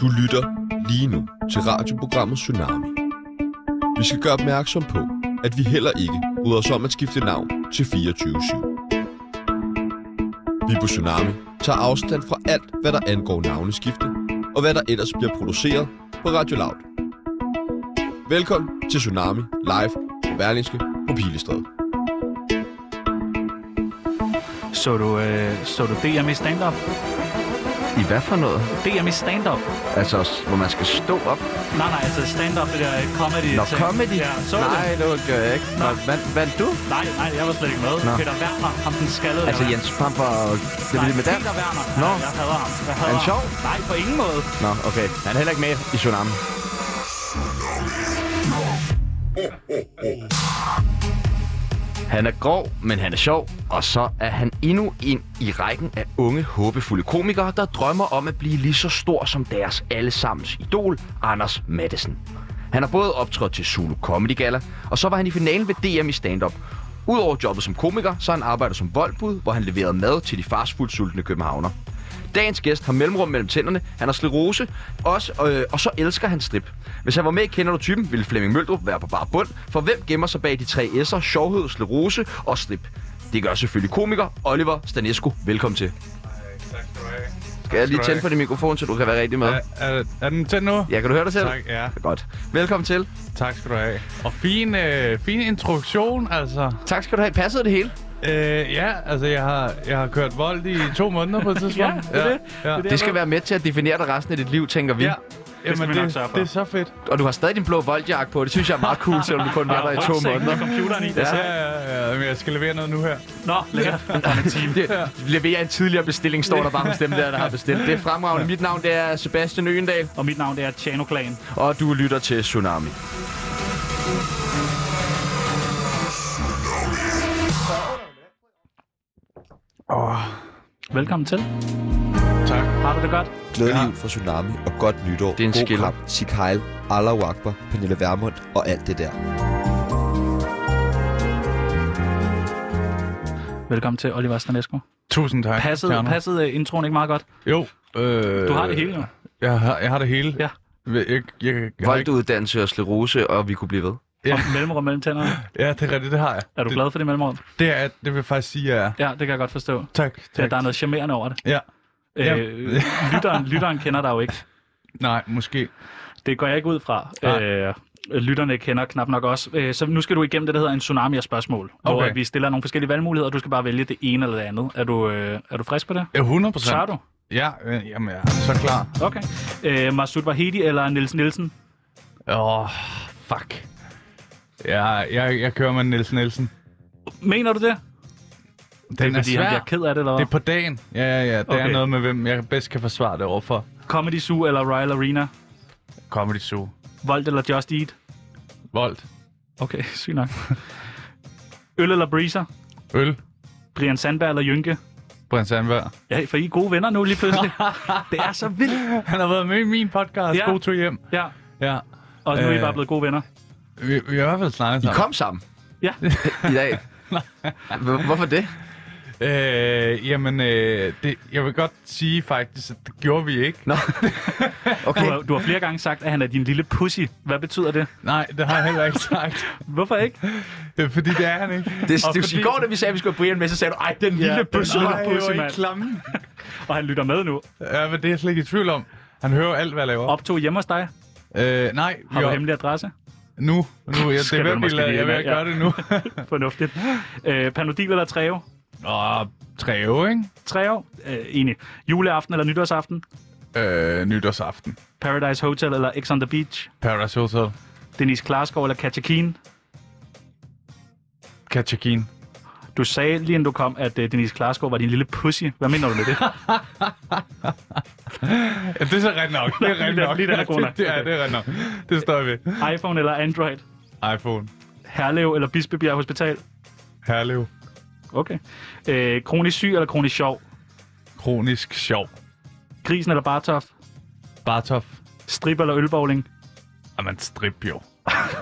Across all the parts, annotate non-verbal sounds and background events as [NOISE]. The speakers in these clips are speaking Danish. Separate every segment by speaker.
Speaker 1: Du lytter lige nu til radioprogrammet Tsunami. Vi skal gøre opmærksom på, at vi heller ikke bryder os om at skifte navn til 24-7. Vi på Tsunami tager afstand fra alt, hvad der angår navneskifte, og hvad der ellers bliver produceret på Radio Loud. Velkommen til Tsunami Live på Berlingske på Pilestræde.
Speaker 2: Så du, øh, så du DM i stand-up?
Speaker 3: I hvad for noget?
Speaker 2: DM i stand-up?
Speaker 3: Altså, hvor man skal stå op?
Speaker 2: Nej, nej, altså stand-up, det der øh, comedy.
Speaker 3: Nå,
Speaker 2: ting.
Speaker 3: comedy?
Speaker 2: Ja, så du
Speaker 3: Nej,
Speaker 2: det.
Speaker 3: det gør jeg ikke. Nå,
Speaker 2: Nå.
Speaker 3: vand, vandt du?
Speaker 2: Nej, nej, jeg var slet ikke med.
Speaker 3: Nå.
Speaker 2: Peter Werner, ham den skaldede.
Speaker 3: Altså,
Speaker 2: der.
Speaker 3: Jens Pamper og det
Speaker 2: Nej,
Speaker 3: vilde med den?
Speaker 2: Peter Werner.
Speaker 3: Nå.
Speaker 2: Nej, jeg hader ham. Jeg hader
Speaker 3: Er han
Speaker 2: ham.
Speaker 3: sjov?
Speaker 2: Nej, på ingen måde.
Speaker 3: Nå, okay. Han er heller ikke med i Tsunami. Han er grov, men han er sjov, og så er han endnu en i rækken af unge, håbefulde komikere, der drømmer om at blive lige så stor som deres allesammens idol, Anders Madsen. Han har både optrådt til Zulu Comedy Gala, og så var han i finalen ved DM i stand-up. Udover jobbet som komiker, så har han arbejdet som voldbud, hvor han leverede mad til de farsfuldt sultne københavner. Dagens gæst har mellemrum mellem tænderne, han har slerose, også, øh, og så elsker han strip. Hvis han var med i Kender du typen, ville Flemming Møldrup være på bare bund, for hvem gemmer sig bag de tre S'er, sjovhed, slerose og strip? Det gør selvfølgelig komiker Oliver Stanescu. Velkommen til.
Speaker 4: Tak skal du have.
Speaker 3: Skal jeg lige tænde for din mikrofon, så du kan være rigtig med?
Speaker 4: Er, er, er den tændt nu?
Speaker 3: Ja, kan du høre dig selv?
Speaker 4: Tak, ja.
Speaker 3: Godt. Velkommen til.
Speaker 4: Tak skal du have. Og fin, øh, fin introduktion, altså.
Speaker 3: Tak skal du have. Passede det hele?
Speaker 4: Øh, ja, altså, jeg har, jeg har kørt vold i to måneder
Speaker 2: [LAUGHS]
Speaker 4: på et tidspunkt. ja,
Speaker 3: det er det.
Speaker 4: Ja.
Speaker 3: Det skal være med til at definere dig resten af dit liv, tænker vi.
Speaker 4: Ja. Jamen,
Speaker 2: vi
Speaker 4: det,
Speaker 2: nok sørge for.
Speaker 4: det er så fedt.
Speaker 3: Og du har stadig din blå voldjakke på. Det synes jeg er meget
Speaker 4: [LAUGHS]
Speaker 3: cool, selvom du kun var der i to
Speaker 2: Rygsækken
Speaker 3: måneder.
Speaker 2: med computeren i. Ja.
Speaker 4: Ja, ja, ja. Men jeg skal levere noget nu her.
Speaker 2: Nå, lækkert.
Speaker 3: Det leverer en tidligere bestilling, står der bare hos dem der, der har bestilt. Det er fremragende. Mit navn det er Sebastian Øgendal,
Speaker 2: Og mit navn, det er Tjano Klan.
Speaker 3: og du lytter til Tsunami.
Speaker 2: Velkommen til.
Speaker 4: Tak.
Speaker 2: Har du det godt?
Speaker 1: Glædelig
Speaker 4: Ja.
Speaker 1: jul fra Tsunami og godt nytår.
Speaker 3: Det er en
Speaker 1: God
Speaker 3: skiller.
Speaker 1: kamp. Sig Kyle, Allahu Akbar, Pernille Vermund og alt det der.
Speaker 2: Velkommen til Oliver Stanescu.
Speaker 4: Tusind tak.
Speaker 2: Passede,
Speaker 4: Tjerno.
Speaker 2: passede øh, introen ikke meget godt?
Speaker 4: Jo. Øh,
Speaker 2: Du har det hele nu.
Speaker 4: Jeg har, jeg har det hele.
Speaker 2: Ja.
Speaker 4: Jeg, jeg, jeg, jeg har ikke-
Speaker 3: Volduddannelse og slerose, og vi kunne blive ved.
Speaker 2: Ja.
Speaker 4: Ja.
Speaker 2: Og mellemrum mellem tænderne.
Speaker 4: Ja, det er rigtigt, det har jeg.
Speaker 2: Er du
Speaker 4: det,
Speaker 2: glad for det mellemrum?
Speaker 4: Det, er, det vil jeg faktisk sige, jeg er.
Speaker 2: Ja, det kan jeg godt forstå.
Speaker 4: Tak,
Speaker 2: Ja,
Speaker 4: tak.
Speaker 2: der er noget charmerende over det.
Speaker 4: Ja. Ja.
Speaker 2: Øh, lytteren, lytteren kender dig jo ikke.
Speaker 4: Nej, måske.
Speaker 2: Det går jeg ikke ud fra.
Speaker 4: Nej.
Speaker 2: Øh, lytterne kender knap nok også. Øh, så nu skal du igennem det, der hedder en tsunami af spørgsmål. Okay. Hvor
Speaker 4: Okay.
Speaker 2: at vi stiller nogle forskellige valgmuligheder, og du skal bare vælge det ene eller det andet. Er du, øh, er du frisk på det?
Speaker 4: Ja, 100 procent.
Speaker 2: Tør du?
Speaker 4: Ja, øh, jamen, jeg er så klar.
Speaker 2: Okay. Øh, Masud Vahedi eller Niels Nielsen?
Speaker 4: Åh, oh, fuck. Ja, jeg, jeg kører med Nielsen Nielsen.
Speaker 2: Mener du det?
Speaker 4: Den
Speaker 2: det er, fordi han bliver ked af det, eller
Speaker 4: Det
Speaker 2: hvad?
Speaker 4: er på dagen. Ja, ja, ja. Det okay.
Speaker 2: Okay.
Speaker 4: er noget med, hvem jeg bedst kan forsvare det overfor.
Speaker 2: Comedy Zoo eller Royal Arena?
Speaker 4: Comedy Zoo.
Speaker 2: Volt eller Just Eat?
Speaker 4: Vold.
Speaker 2: Okay, [LAUGHS] sygt nok. Øl eller Breezer?
Speaker 4: Øl.
Speaker 2: Brian Sandberg eller Jynke?
Speaker 4: Prins Sandberg.
Speaker 2: Ja, for I er gode venner nu lige
Speaker 4: [LAUGHS]
Speaker 2: pludselig. det er så vildt.
Speaker 4: Han har været med i min podcast.
Speaker 2: Ja.
Speaker 4: Ja. God tur hjem.
Speaker 2: Ja,
Speaker 4: Ja.
Speaker 2: og nu er I
Speaker 4: Øh.
Speaker 2: bare blevet gode venner.
Speaker 4: Vi, vi har i hvert fald snakket
Speaker 3: I
Speaker 4: sammen.
Speaker 3: kom sammen
Speaker 2: Ja.
Speaker 3: [LAUGHS] i dag. Hvor- Hvorfor det?
Speaker 4: Øh, jamen, øh, det, jeg vil godt sige faktisk, at det gjorde vi ikke. [LAUGHS]
Speaker 3: Nå.
Speaker 2: Du
Speaker 3: Okay.
Speaker 2: har, du har flere gange sagt, at han er din lille pussy. Hvad betyder det?
Speaker 4: Nej, det har jeg heller ikke sagt.
Speaker 2: Hvorfor ikke?
Speaker 4: Øh, Fordi det er han ikke.
Speaker 3: Det, det,
Speaker 4: Og
Speaker 3: det, I
Speaker 4: fordi-
Speaker 3: går, da vi sagde, at vi skulle have Brian med, så sagde du, ej, den lille
Speaker 2: den
Speaker 3: bøsse.
Speaker 2: lille
Speaker 4: Nej,
Speaker 2: pussy,
Speaker 4: jeg var i
Speaker 2: mand.
Speaker 4: klammen.
Speaker 2: Og han lytter med nu.
Speaker 4: Ja, men det er jeg slet ikke i tvivl om. Han hører alt, hvad jeg laver.
Speaker 2: Optog hjemme hos dig.
Speaker 4: Øh, nej,
Speaker 2: Har
Speaker 4: vi
Speaker 2: du
Speaker 4: op-
Speaker 2: hemmelig adresse?
Speaker 4: Nu. nu jeg, det
Speaker 2: Skal
Speaker 4: er
Speaker 2: du
Speaker 4: hvem,
Speaker 2: måske
Speaker 4: jeg,
Speaker 2: lige
Speaker 4: jeg vil ikke
Speaker 2: ind, ja.
Speaker 4: gøre det nu. [LAUGHS]
Speaker 2: Fornuftigt. Øh, Panodil eller Treo?
Speaker 4: Åh, Treo, ikke?
Speaker 2: Treo? Øh, enig. Juleaften eller nytårsaften?
Speaker 4: Øh, nytårsaften.
Speaker 2: Paradise Hotel eller X on the Beach?
Speaker 4: Paradise Hotel.
Speaker 2: Denise Klarskov eller Katja Keen?
Speaker 4: Kachakin.
Speaker 2: Du sagde lige inden du kom, at uh, Denise Klarskov var din lille pussy. Hvad mener du med
Speaker 3: [LAUGHS]
Speaker 2: det?
Speaker 4: Ja, det er så rent nok. Det er rent
Speaker 2: [LAUGHS] Lige den-
Speaker 4: nok.
Speaker 2: lige den er god nok.
Speaker 4: [LAUGHS] det, det, er, det er rent nok. Det står jeg ved.
Speaker 2: iPhone eller Android?
Speaker 4: iPhone.
Speaker 2: Herlev eller Bispebjerg Hospital?
Speaker 4: Herlev.
Speaker 2: Okay. Øh, kronisk syg eller kronisk sjov?
Speaker 4: Kronisk sjov.
Speaker 2: Grisen eller Bartof?
Speaker 4: Bartof.
Speaker 2: Strip eller ølbowling?
Speaker 4: [LAUGHS] Og man strip jo.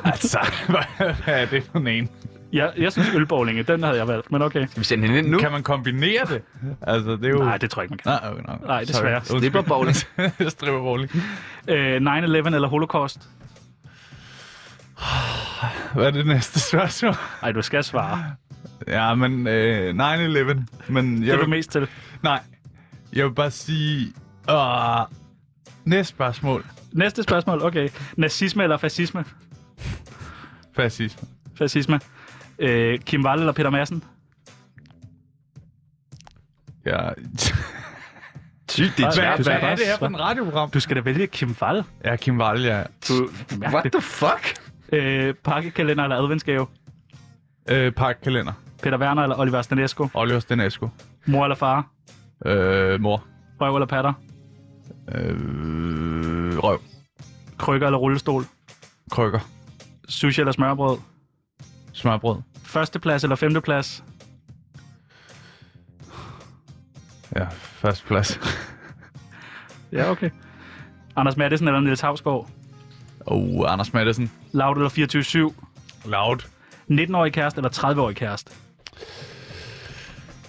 Speaker 4: altså, hvad er det for en?
Speaker 2: Ja, jeg synes ølbowlinge, den havde jeg valgt, men okay.
Speaker 3: Skal vi sende hende ind nu?
Speaker 4: Kan man kombinere det? Altså, det er jo...
Speaker 2: Nej, det tror jeg ikke, man kan.
Speaker 4: Nej, okay, nej. [LAUGHS]
Speaker 2: Nej, desværre.
Speaker 3: Slipper bowling.
Speaker 4: Stripper bowling.
Speaker 2: Øh, 9-11 eller holocaust?
Speaker 4: Hvad er det næste spørgsmål?
Speaker 2: Nej, du skal svare.
Speaker 4: Ja, men øh, 9-11. Men
Speaker 2: Det
Speaker 4: jeg
Speaker 2: er du
Speaker 4: vil,
Speaker 2: mest til.
Speaker 4: nej, jeg vil bare sige... Åh, næste spørgsmål.
Speaker 2: Næste spørgsmål, okay. Nazisme eller fascisme?
Speaker 4: Fascisme.
Speaker 2: Fascisme. Øh, Kim Wall eller Peter Madsen?
Speaker 4: Ja.
Speaker 3: Sygt, det er
Speaker 2: Hvad-
Speaker 3: svært.
Speaker 2: hvad
Speaker 4: Hvad
Speaker 2: er
Speaker 4: er det her for
Speaker 2: svar?
Speaker 4: en radioprogram?
Speaker 2: Du skal da vælge Kim Wall.
Speaker 4: Ja, Kim Wall, ja.
Speaker 2: Du,
Speaker 3: What
Speaker 2: mærkeligt.
Speaker 3: the fuck?
Speaker 2: Øh, pakkekalender eller adventsgave?
Speaker 4: Øh, pakkalender.
Speaker 2: Peter Werner eller Oliver Stanesco?
Speaker 4: Oliver Stenesco.
Speaker 2: Mor eller far?
Speaker 4: Øh, mor.
Speaker 2: Røv eller patter?
Speaker 4: Øh, røv.
Speaker 2: Krykker eller rullestol?
Speaker 4: Krykker.
Speaker 2: Sushi eller smørbrød?
Speaker 4: Smørbrød.
Speaker 2: Førsteplads eller femteplads?
Speaker 4: Ja, første plads.
Speaker 2: Ja, okay. Anders Mattesen eller Niels Havsgaard?
Speaker 4: Oh, Anders Madsen.
Speaker 2: Loud eller 24-7?
Speaker 4: Loud.
Speaker 2: 19-årig kæreste eller 30-årig kæreste?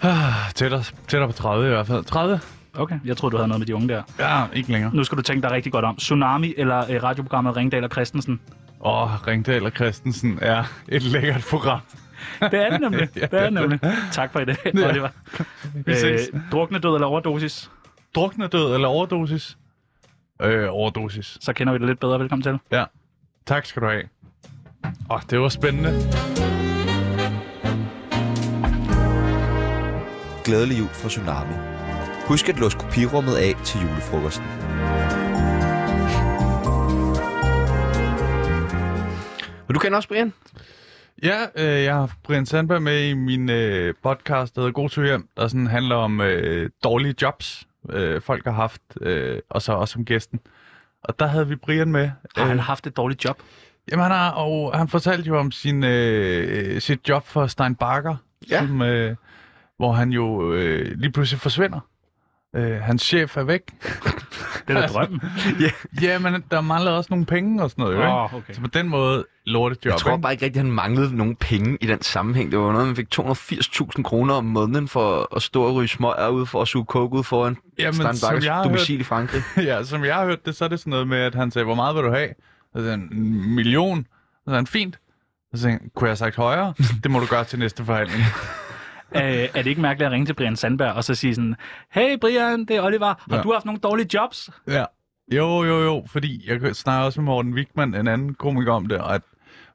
Speaker 4: Ah, Tættere, tættere på 30 i hvert fald. 30?
Speaker 2: Okay, jeg troede, du havde noget med de unge der.
Speaker 4: Ja, ikke længere.
Speaker 2: Nu skal du tænke dig rigtig godt om. Tsunami eller øh, radioprogrammet Ringdal og Christensen?
Speaker 4: Åh, oh, Ringdal og Christensen er et lækkert program.
Speaker 2: Det er det
Speaker 4: [LAUGHS]
Speaker 2: nemlig. Det er det nemlig. Tak for i dag, Oliver.
Speaker 4: Vi ses.
Speaker 2: Øh, druknedød eller overdosis,
Speaker 4: Drukne død eller overdosis? Øh, overdosis.
Speaker 2: så kender vi det lidt bedre. Velkommen til.
Speaker 4: Ja. Tak skal du have. Åh, oh, det var spændende.
Speaker 5: Glædelig jul fra Tsunami. Husk at låse kopirummet af til julefrokosten.
Speaker 3: Men du kender også Brian?
Speaker 4: Ja, øh, jeg har haft Brian Sandberg med i min øh, podcast, der hedder God til hjem, der sådan handler om øh, dårlige jobs, øh, folk har haft, øh, og så også om gæsten. Og der havde vi Brian med. Øh,
Speaker 2: Har han haft et dårligt job?
Speaker 4: Jamen, han, har, og han fortalte jo om sin, øh, sit job for Stein Barker,
Speaker 3: Ja.
Speaker 4: som, øh, hvor han jo øh, lige pludselig forsvinder. Øh, hans chef er væk.
Speaker 2: Det er da
Speaker 4: [LAUGHS]
Speaker 2: drømmen.
Speaker 4: ja, men der mangler også nogle penge og sådan noget, jo, ikke?
Speaker 2: Åh, okay.
Speaker 4: Så på den måde, lortet job,
Speaker 3: Jeg tror
Speaker 4: ikke?
Speaker 3: bare ikke rigtigt, han manglede nogen penge i den sammenhæng. Det var noget, man fik 280.000 kroner om måneden for at stå og ryge smøger ud for at suge coke ud foran
Speaker 4: Jamen, som jeg
Speaker 3: Strandbakkers
Speaker 4: har
Speaker 3: domicil i Frankrig.
Speaker 4: [LAUGHS] ja, som jeg har hørt det, så er det sådan noget med, at han sagde, hvor meget vil du have? Og så sagde han, en million. Og så sagde han, fint. Og så sagde han, kunne jeg have sagt
Speaker 3: [LAUGHS]
Speaker 4: højere? Det må du gøre til næste forhandling.
Speaker 2: Øh, er det ikke mærkeligt at ringe til Brian Sandberg og så sige sådan, Hey Brian, det er Oliver. Har
Speaker 4: Ja.
Speaker 2: du haft nogle dårlige jobs?
Speaker 4: Ja. Jo, jo, jo, fordi jeg snakker også med Morten Wigman, en anden komiker, om det, og at,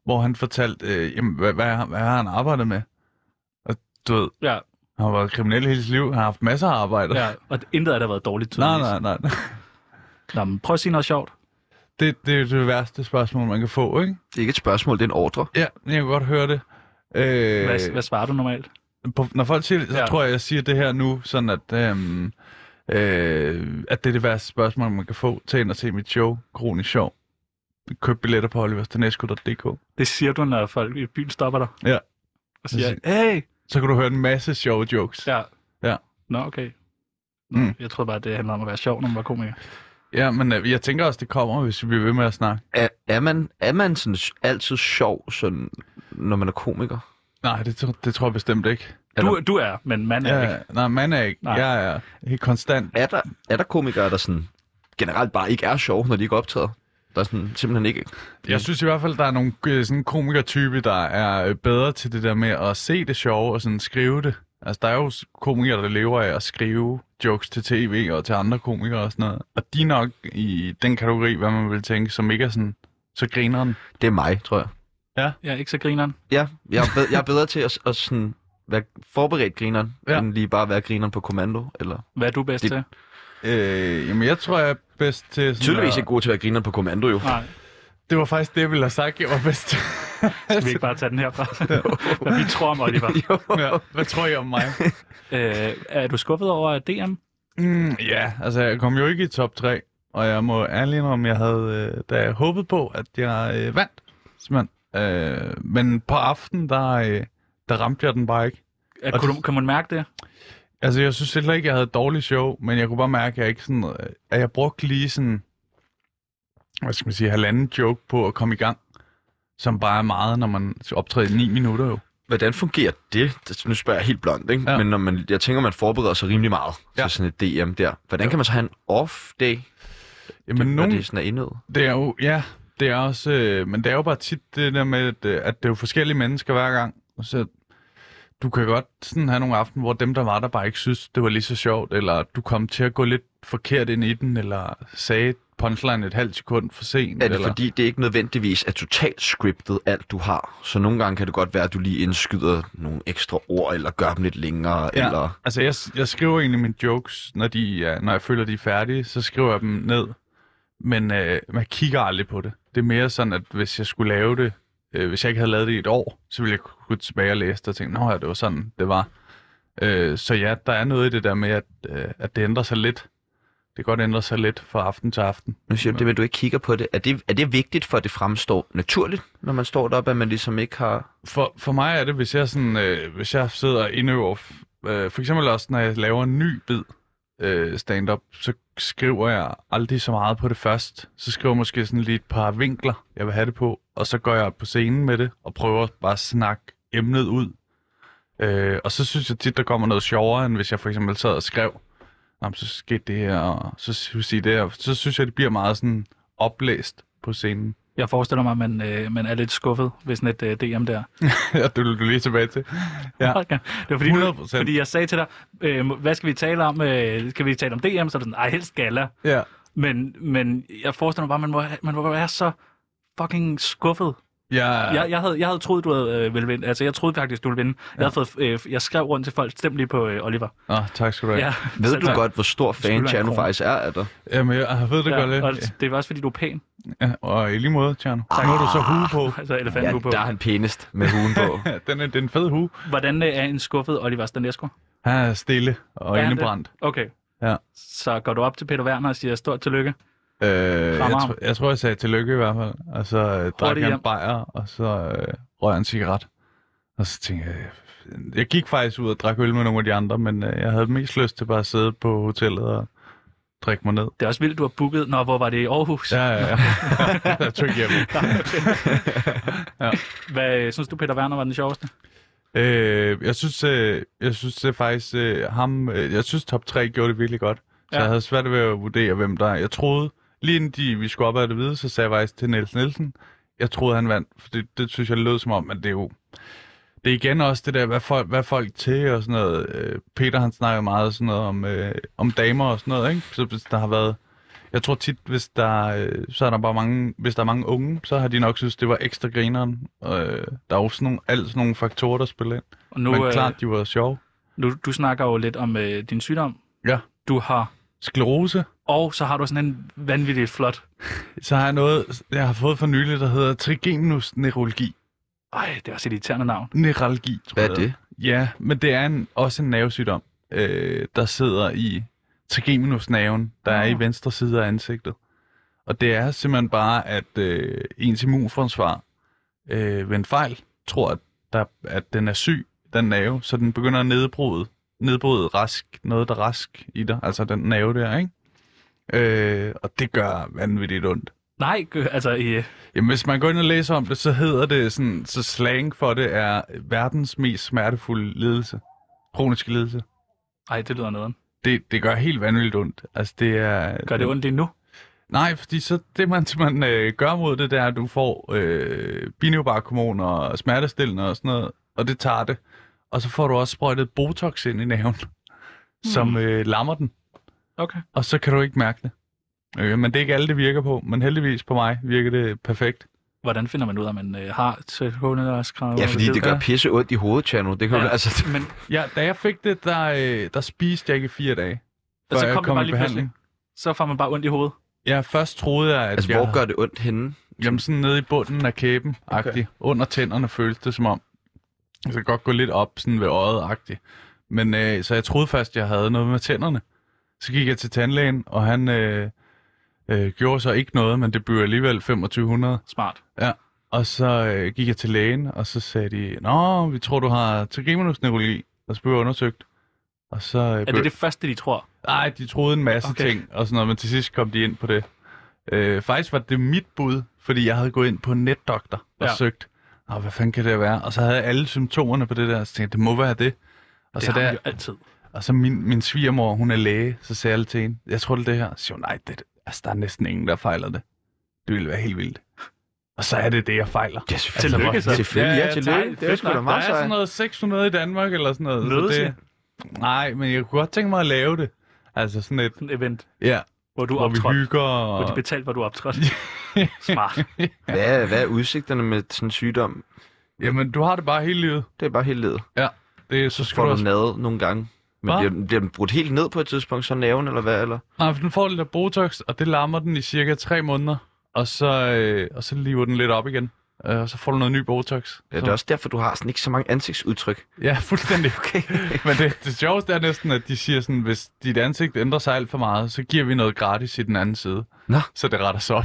Speaker 4: hvor han fortalte, øh, jamen, hvad, hvad, har- hvad har han arbejdet med? Og du ved,
Speaker 2: Ja,
Speaker 4: han har været kriminel hele sit liv, han har haft masser af arbejde. [LAUGHS]
Speaker 2: ja. og intet af det har været dårligt,
Speaker 4: Nej,
Speaker 2: tydeligvis.
Speaker 4: nej, nej.
Speaker 2: Nå, men prøv at sige noget sjovt.
Speaker 4: Det, det er det værste spørgsmål, man kan få, ikke?
Speaker 3: Det er ikke et spørgsmål, det er en ordre.
Speaker 4: Ja, jeg kan godt høre det. Øh,
Speaker 2: Hvad, hvad svarer du normalt?
Speaker 4: på, når folk siger det, så
Speaker 2: Ja.
Speaker 4: ja. tror jeg, jeg siger det her nu, sådan at, øhm, øh, at det er det værste spørgsmål, man kan få. Tag ind og se mit show, Kronisk Sjov. Køb billetter på oliverstanesco.dk.
Speaker 2: Det siger du, når folk i byen stopper dig.
Speaker 4: Ja.
Speaker 2: Og siger, hey!
Speaker 4: Så kan du høre en masse sjove jokes.
Speaker 2: Ja.
Speaker 4: Ja.
Speaker 2: Nå, okay. Nå,
Speaker 4: Mm.
Speaker 2: Jeg troede bare, det handlede om at være sjov, når man var komiker.
Speaker 4: ja men øh, jeg tænker også, det kommer, hvis vi bliver ved med at snakke.
Speaker 3: Er, er, man, er man sådan altid sjov, sådan, når man er komiker?
Speaker 4: Nej, det, tro- det tror jeg bestemt ikke.
Speaker 2: Du, du er, men mand er ja. ikke.
Speaker 4: Jeg, nej, man er ikke.
Speaker 2: Nej.
Speaker 4: Nej. Jeg er helt konstant.
Speaker 3: Er der, er der komikere, der sådan, generelt bare ikke er sjov, når de ikke optræder? Der er sådan, simpelthen ikke...
Speaker 4: Jeg synes i hvert fald, der er nogle øh, sådan komikertype, der er øh, bedre til det der med at se det sjove og sådan skrive det. Altså, der er jo s- komikere, der lever af at skrive jokes til tv og til andre komikere og sådan noget. Og de er nok i den kategori, hvad man vil tænke, som ikke er sådan så grineren.
Speaker 3: Det er mig, tror jeg.
Speaker 2: Ja, ikke så grineren.
Speaker 3: Ja, jeg er bedre, jeg er bedre til at, at sådan være forberedt grineren, ja.
Speaker 4: Ja.
Speaker 3: end lige bare være grineren på kommando. Eller...
Speaker 2: Hvad er du bedst det...
Speaker 3: Det-
Speaker 2: til?
Speaker 4: Øh, jamen, jeg tror, jeg er bedst til... Sådan
Speaker 3: Tydeligvis
Speaker 4: at-
Speaker 3: ikke god til at være grineren på kommando, jo.
Speaker 2: Nej,
Speaker 4: Det var faktisk det, jeg ville have sagt, jeg var bedst til.
Speaker 2: skal vi ikke bare tage den
Speaker 4: [LAUGHS]
Speaker 2: herfra? Hvad vi tror om Oliver. [LAUGHS]
Speaker 4: ja, hvad tror I om mig?
Speaker 2: Øh, er du skuffet over DM?
Speaker 4: Mm, ja, altså jeg kom jo ikke i top 3, og jeg må ærligt indrømme, jeg havde øh, da jeg håbede på, at jeg øh, vandt, simpelthen. Øh, men på aften, der, øh, der ramte jeg den bare ikke.
Speaker 2: Er,
Speaker 4: Og
Speaker 2: kunne
Speaker 4: det-
Speaker 2: du, kan man mærke det?
Speaker 4: Altså jeg synes heller ikke, jeg havde et dårligt show, men jeg kunne bare mærke, at jeg, ikke sådan, øh, at jeg brugte lige sådan, hvad skal man sige, halvanden joke på at komme i gang, som bare er meget, når man optræder i 9 minutter jo.
Speaker 3: Hvordan fungerer det? Det- Nu spørger jeg helt blondt, ikke?
Speaker 4: Ja.
Speaker 3: Ja. Men når man, jeg tænker, man forbereder sig rimelig meget
Speaker 4: Ja.
Speaker 3: ja. til sådan et DM der. Hvordan ja. kan man så have en off-day,
Speaker 4: Jamen,
Speaker 3: når
Speaker 4: nogen,
Speaker 3: det sådan er indød?
Speaker 4: Det er jo, ja, det er også, øh, men det er jo bare tit det der med, at, øh, at det er jo forskellige mennesker hver gang, og så du kan godt sådan have nogle aften, hvor dem, der var der, bare ikke synes, det var lige så sjovt, eller du kom til at gå lidt forkert ind i den, eller sagde punchline et halvt sekund for sent.
Speaker 3: Er det
Speaker 4: eller...
Speaker 3: fordi, det ikke nødvendigvis er totalt scriptet alt, du har? Så nogle gange kan det godt være, at du lige indskyder nogle ekstra ord, eller gør dem lidt længere, ja. eller...
Speaker 4: Altså, jeg, jeg skriver egentlig mine jokes, når, de, er, når jeg føler, de er færdige, så skriver jeg dem ned. Men øh, man kigger aldrig på det. Det er mere sådan, at hvis jeg skulle lave det, øh, hvis jeg ikke havde lavet det i et år, så ville jeg kunne gå tilbage og læse det og tænke, nå ja, det var sådan, det var. Øh, så ja, der er noget i det der med, at, øh, at det ændrer sig lidt. Det kan godt ændre sig lidt fra aften til aften.
Speaker 3: Nu siger du det med, at du ikke kigger på det. Er det, er det vigtigt for, at det fremstår naturligt, når man står deroppe, at man ligesom ikke har...
Speaker 4: For, for mig er det, hvis jeg, sådan, øh, hvis jeg sidder og indøver, f- øh, for eksempel også når jeg laver en ny bid øh, stand-up, så skriver jeg aldrig så meget på det først. Så skriver jeg måske sådan lige et par vinkler, jeg vil have det på, og så går jeg op på scenen med det, og prøver bare at snakke emnet ud. Øh, og så synes jeg tit, der kommer noget sjovere, end hvis jeg for eksempel sad og skrev, Nå, men så skete det her, og så sige det her. Så synes jeg, det bliver meget sådan oplæst på scenen. [LAUGHS]
Speaker 2: Jeg forestiller mig, at man, øh, man er lidt skuffet ved sådan et øh, DM der.
Speaker 4: ja, det vil du lige tilbage til. Ja.
Speaker 2: [LAUGHS] Okay. Det var fordi, du,
Speaker 4: 100%.
Speaker 2: fordi jeg sagde til dig, øh, må- hvad skal vi tale om? Øh, skal vi tale om DM? Så er du sådan, ej, helst gala.
Speaker 4: Ja.
Speaker 2: Men, men jeg forestiller mig bare, man må, ha- man må være så fucking skuffet.
Speaker 4: Jeg,
Speaker 2: Jeg, jeg, havde, jeg havde troet, du havde, øh, ville vinde. Altså, jeg troede faktisk, du ville vinde. Jeg, havde fået, øh, jeg skrev rundt til folk, stem lige på øh, Oliver.
Speaker 4: Nå, tak skal du have. Ja.
Speaker 3: Ved
Speaker 2: Selv
Speaker 3: du
Speaker 2: tak.
Speaker 3: godt, hvor stor fan
Speaker 2: skylder en
Speaker 3: Tjerno
Speaker 2: krone.
Speaker 3: faktisk er af dig?
Speaker 4: Jamen, jeg jeg ved det ja, godt
Speaker 2: og
Speaker 4: lidt. Ah.
Speaker 2: det, det var også, fordi du er pæn.
Speaker 4: Ja, og i lige måde, Tjerno. Nu har du så hue
Speaker 2: [LAUGHS]
Speaker 4: på.
Speaker 2: Altså, elefanten
Speaker 3: Ja,
Speaker 2: ja, på.
Speaker 3: der er han pænest med huen på.
Speaker 4: Ja, [LAUGHS] den er, den fede hue.
Speaker 2: Hvordan øh, er en skuffet Oliver Stanesco?
Speaker 4: Han er stille og
Speaker 2: Er
Speaker 4: ja,
Speaker 2: han
Speaker 4: indebrændt.
Speaker 2: Okay.
Speaker 4: Ja.
Speaker 2: Så går du op til Peter Werner og siger stort tillykke.
Speaker 4: Øh, jeg,
Speaker 2: Fremragende.
Speaker 4: tr- jeg tror, jeg sagde tillykke i hvert fald. Og så øh, drak
Speaker 2: det
Speaker 4: jeg
Speaker 2: hjem.
Speaker 4: en bajer, og så øh, røg jeg en cigaret. Og så tænkte jeg, øh, jeg gik faktisk ud og drak øl med nogle af de andre, men øh, jeg havde mest lyst til bare at sidde på hotellet og drikke mig ned.
Speaker 2: Det er også vildt, du har booket. Nå, hvor var det i Aarhus? [LAUGHS]
Speaker 4: Ja, ja, [LAUGHS] ja. jeg tog hjem. [LAUGHS]
Speaker 2: Hvad øh, synes du, Peter Werner var den sjoveste?
Speaker 4: Øh, jeg synes, øh, jeg synes øh, faktisk, øh, ham, øh, jeg synes top 3 gjorde det virkelig godt. Så
Speaker 2: Ja.
Speaker 4: ja. jeg havde svært ved at vurdere, hvem der er. Jeg troede, lige inden de, vi skulle op ad det hvide, så sagde jeg faktisk til Niels Nielsen, jeg troede, han vandt. For det, det synes jeg lød som om, at det er jo... Det er igen også det der, hvad folk, hvad folk til og sådan noget. Øh, Peter, han snakker meget sådan noget om, øh, om damer og sådan noget, ikke? Så hvis der har været... Jeg tror tit, hvis der, øh, så er der bare mange, hvis der er mange unge, så har de nok synes, det var ekstra grineren. Øh, der er jo sådan nogle, alt sådan nogle faktorer, der spiller ind.
Speaker 2: Og nu, øh,
Speaker 4: Men klart, de var sjove.
Speaker 2: nu, du snakker jo lidt om øh, din sygdom.
Speaker 4: Ja.
Speaker 2: Du har,
Speaker 4: Sklerose.
Speaker 2: og så har du sådan en vanvittigt flot.
Speaker 4: Så har jeg noget, jeg har fået for nylig, der hedder trigeminus neurologi.
Speaker 2: Ej, det var også et irriterende navn.
Speaker 4: Neuralgi, tror
Speaker 3: Hvad
Speaker 4: jeg.
Speaker 3: er det?
Speaker 4: Ja, men det er en, også en nervesygdom, øh, der sidder i trigeminusnerven, der er i
Speaker 2: Nå.
Speaker 4: venstre side af ansigtet. Og det er simpelthen bare, at øh, ens immunforsvar øh, ved en fejl tror, at, der, at den er syg, den nerve, så den begynder at nedbryde, nedbryde rask, noget, der er rask i dig, altså den nerve der, ikke? Øh, og det gør vanvittigt ondt.
Speaker 2: Nej, gø- altså, øh,
Speaker 4: Jamen, hvis man går ind og læser om det, så hedder det sådan, så slang for det er verdens mest smertefulde lidelse. Kroniske lidelse.
Speaker 2: ej, det lyder noget.
Speaker 4: Det, det gør helt vanvittigt ondt. Altså, det er...
Speaker 2: Gør det ondt lige nu?
Speaker 4: Nej, fordi så det, man, [LAUGHS] man øh, gør mod det, det er, at du får øh, biniobarkomon og smertestillende og sådan noget, og det tager det. Og så får du også sprøjtet Botox ind i næven, [LAUGHS]
Speaker 2: Hmm.
Speaker 4: som øh, lammer den,
Speaker 2: Okay.
Speaker 4: og så kan du ikke mærke det. Øh, men det er ikke alle, det virker på, men heldigvis på mig virker det perfekt.
Speaker 2: Hvordan finder man ud af, at man øh, har tilhåndelagskræver?
Speaker 3: Ja, fordi det gør pisse ondt i hovedet, Tjerno. Det kan
Speaker 2: Ja.
Speaker 3: ja. altså,
Speaker 2: Men
Speaker 4: Ja, da jeg fik det, der, øh, der spiste jeg ikke i fire dage.
Speaker 2: og så
Speaker 4: før jeg
Speaker 2: altså, kom det bare
Speaker 4: i
Speaker 2: lige pludselig. Så får man bare ondt i hovedet.
Speaker 4: Ja, først troede jeg, at
Speaker 3: altså
Speaker 4: jeg,
Speaker 3: hvor gør det ondt henne?
Speaker 4: jamen, sådan nede i bunden af kæben, okay. under tænderne føltes det som om. Jeg kan godt gå lidt op sådan ved øjet -agtigt. Men øh, så jeg troede først, jeg havde noget med tænderne. Så gik jeg til tandlægen, og han øh, øh, gjorde så ikke noget, men det blev alligevel 2500.
Speaker 2: Smart.
Speaker 4: Og så øh, gik jeg til lægen, og så sagde de, Nå, vi tror, du har trigeminusneurologi. Og så blev jeg undersøgt. Og så, øh,
Speaker 2: Er
Speaker 4: blev-
Speaker 2: det det første, de tror?
Speaker 4: Nej, de troede en masse
Speaker 2: Okay.
Speaker 4: okay. ting og sådan noget, men til sidst kom de ind på det. Øh, faktisk var det mit bud, fordi jeg havde gået ind på netdoktor og
Speaker 2: Ja.
Speaker 4: ja. søgt. Nå, hvad fanden kan det være? Og så havde jeg alle symptomerne på det der, og så tænkte jeg, det må være det. Og
Speaker 2: Det
Speaker 4: så,
Speaker 2: har
Speaker 4: der,
Speaker 2: man jo altid.
Speaker 4: og så min, min svigermor, hun er læge, så sagde jeg lidt til hende, jeg tror det er det her. Så siger hun, nej, det, altså, der er næsten ingen, der fejler det. Det ville være helt vildt. Og så er det det, jeg fejler.
Speaker 3: Ja,
Speaker 2: Tillykke,
Speaker 3: Altså, hvor-
Speaker 2: så.
Speaker 3: Selvfølgelig,
Speaker 4: Ja,
Speaker 3: ja,
Speaker 4: ja,
Speaker 2: tak.
Speaker 3: tillykke. Det er
Speaker 2: Fedt
Speaker 3: sgu da
Speaker 2: nok.
Speaker 4: Der
Speaker 3: meget
Speaker 4: er sådan
Speaker 3: sejt.
Speaker 4: noget 600 i Danmark eller sådan noget.
Speaker 2: Noget
Speaker 4: så
Speaker 2: siger.
Speaker 4: det, nej, men jeg kunne godt tænke mig at lave det. Altså sådan et,
Speaker 2: Sådan et event,
Speaker 4: ja,
Speaker 2: hvor du
Speaker 4: hvor vi
Speaker 2: optrådte.
Speaker 4: hygger.
Speaker 2: Hvor
Speaker 4: Og...
Speaker 2: de betalte, hvor du
Speaker 4: [LAUGHS]
Speaker 2: optrådte. Smart.
Speaker 3: Hvad er, hvad er udsigterne med sådan en sygdom?
Speaker 4: Jamen, du har det bare hele livet.
Speaker 3: Det er bare helt ledet.
Speaker 4: Det, er- så skal
Speaker 3: Får
Speaker 4: du
Speaker 3: du
Speaker 4: også...
Speaker 3: nade nogle gange? Men
Speaker 4: Hva?
Speaker 3: bliver, den- bliver den brudt helt ned på et tidspunkt, så naven eller hvad? Eller?
Speaker 4: Nej, for den får lidt af Botox, og det lammer den i cirka 3 måneder. Og så, øh, og så lever den lidt op igen. Øh, og så får du noget ny Botox.
Speaker 3: Ja, det er også derfor, du har sådan ikke så mange ansigtsudtryk.
Speaker 4: ja fuldstændig.
Speaker 3: [LAUGHS] Okay.
Speaker 4: [LAUGHS] Men det, det sjoveste er næsten, at de siger sådan, hvis dit ansigt ændrer sig alt for meget, så giver vi noget gratis i den anden side.
Speaker 3: Nå.
Speaker 4: Så det retter sig op.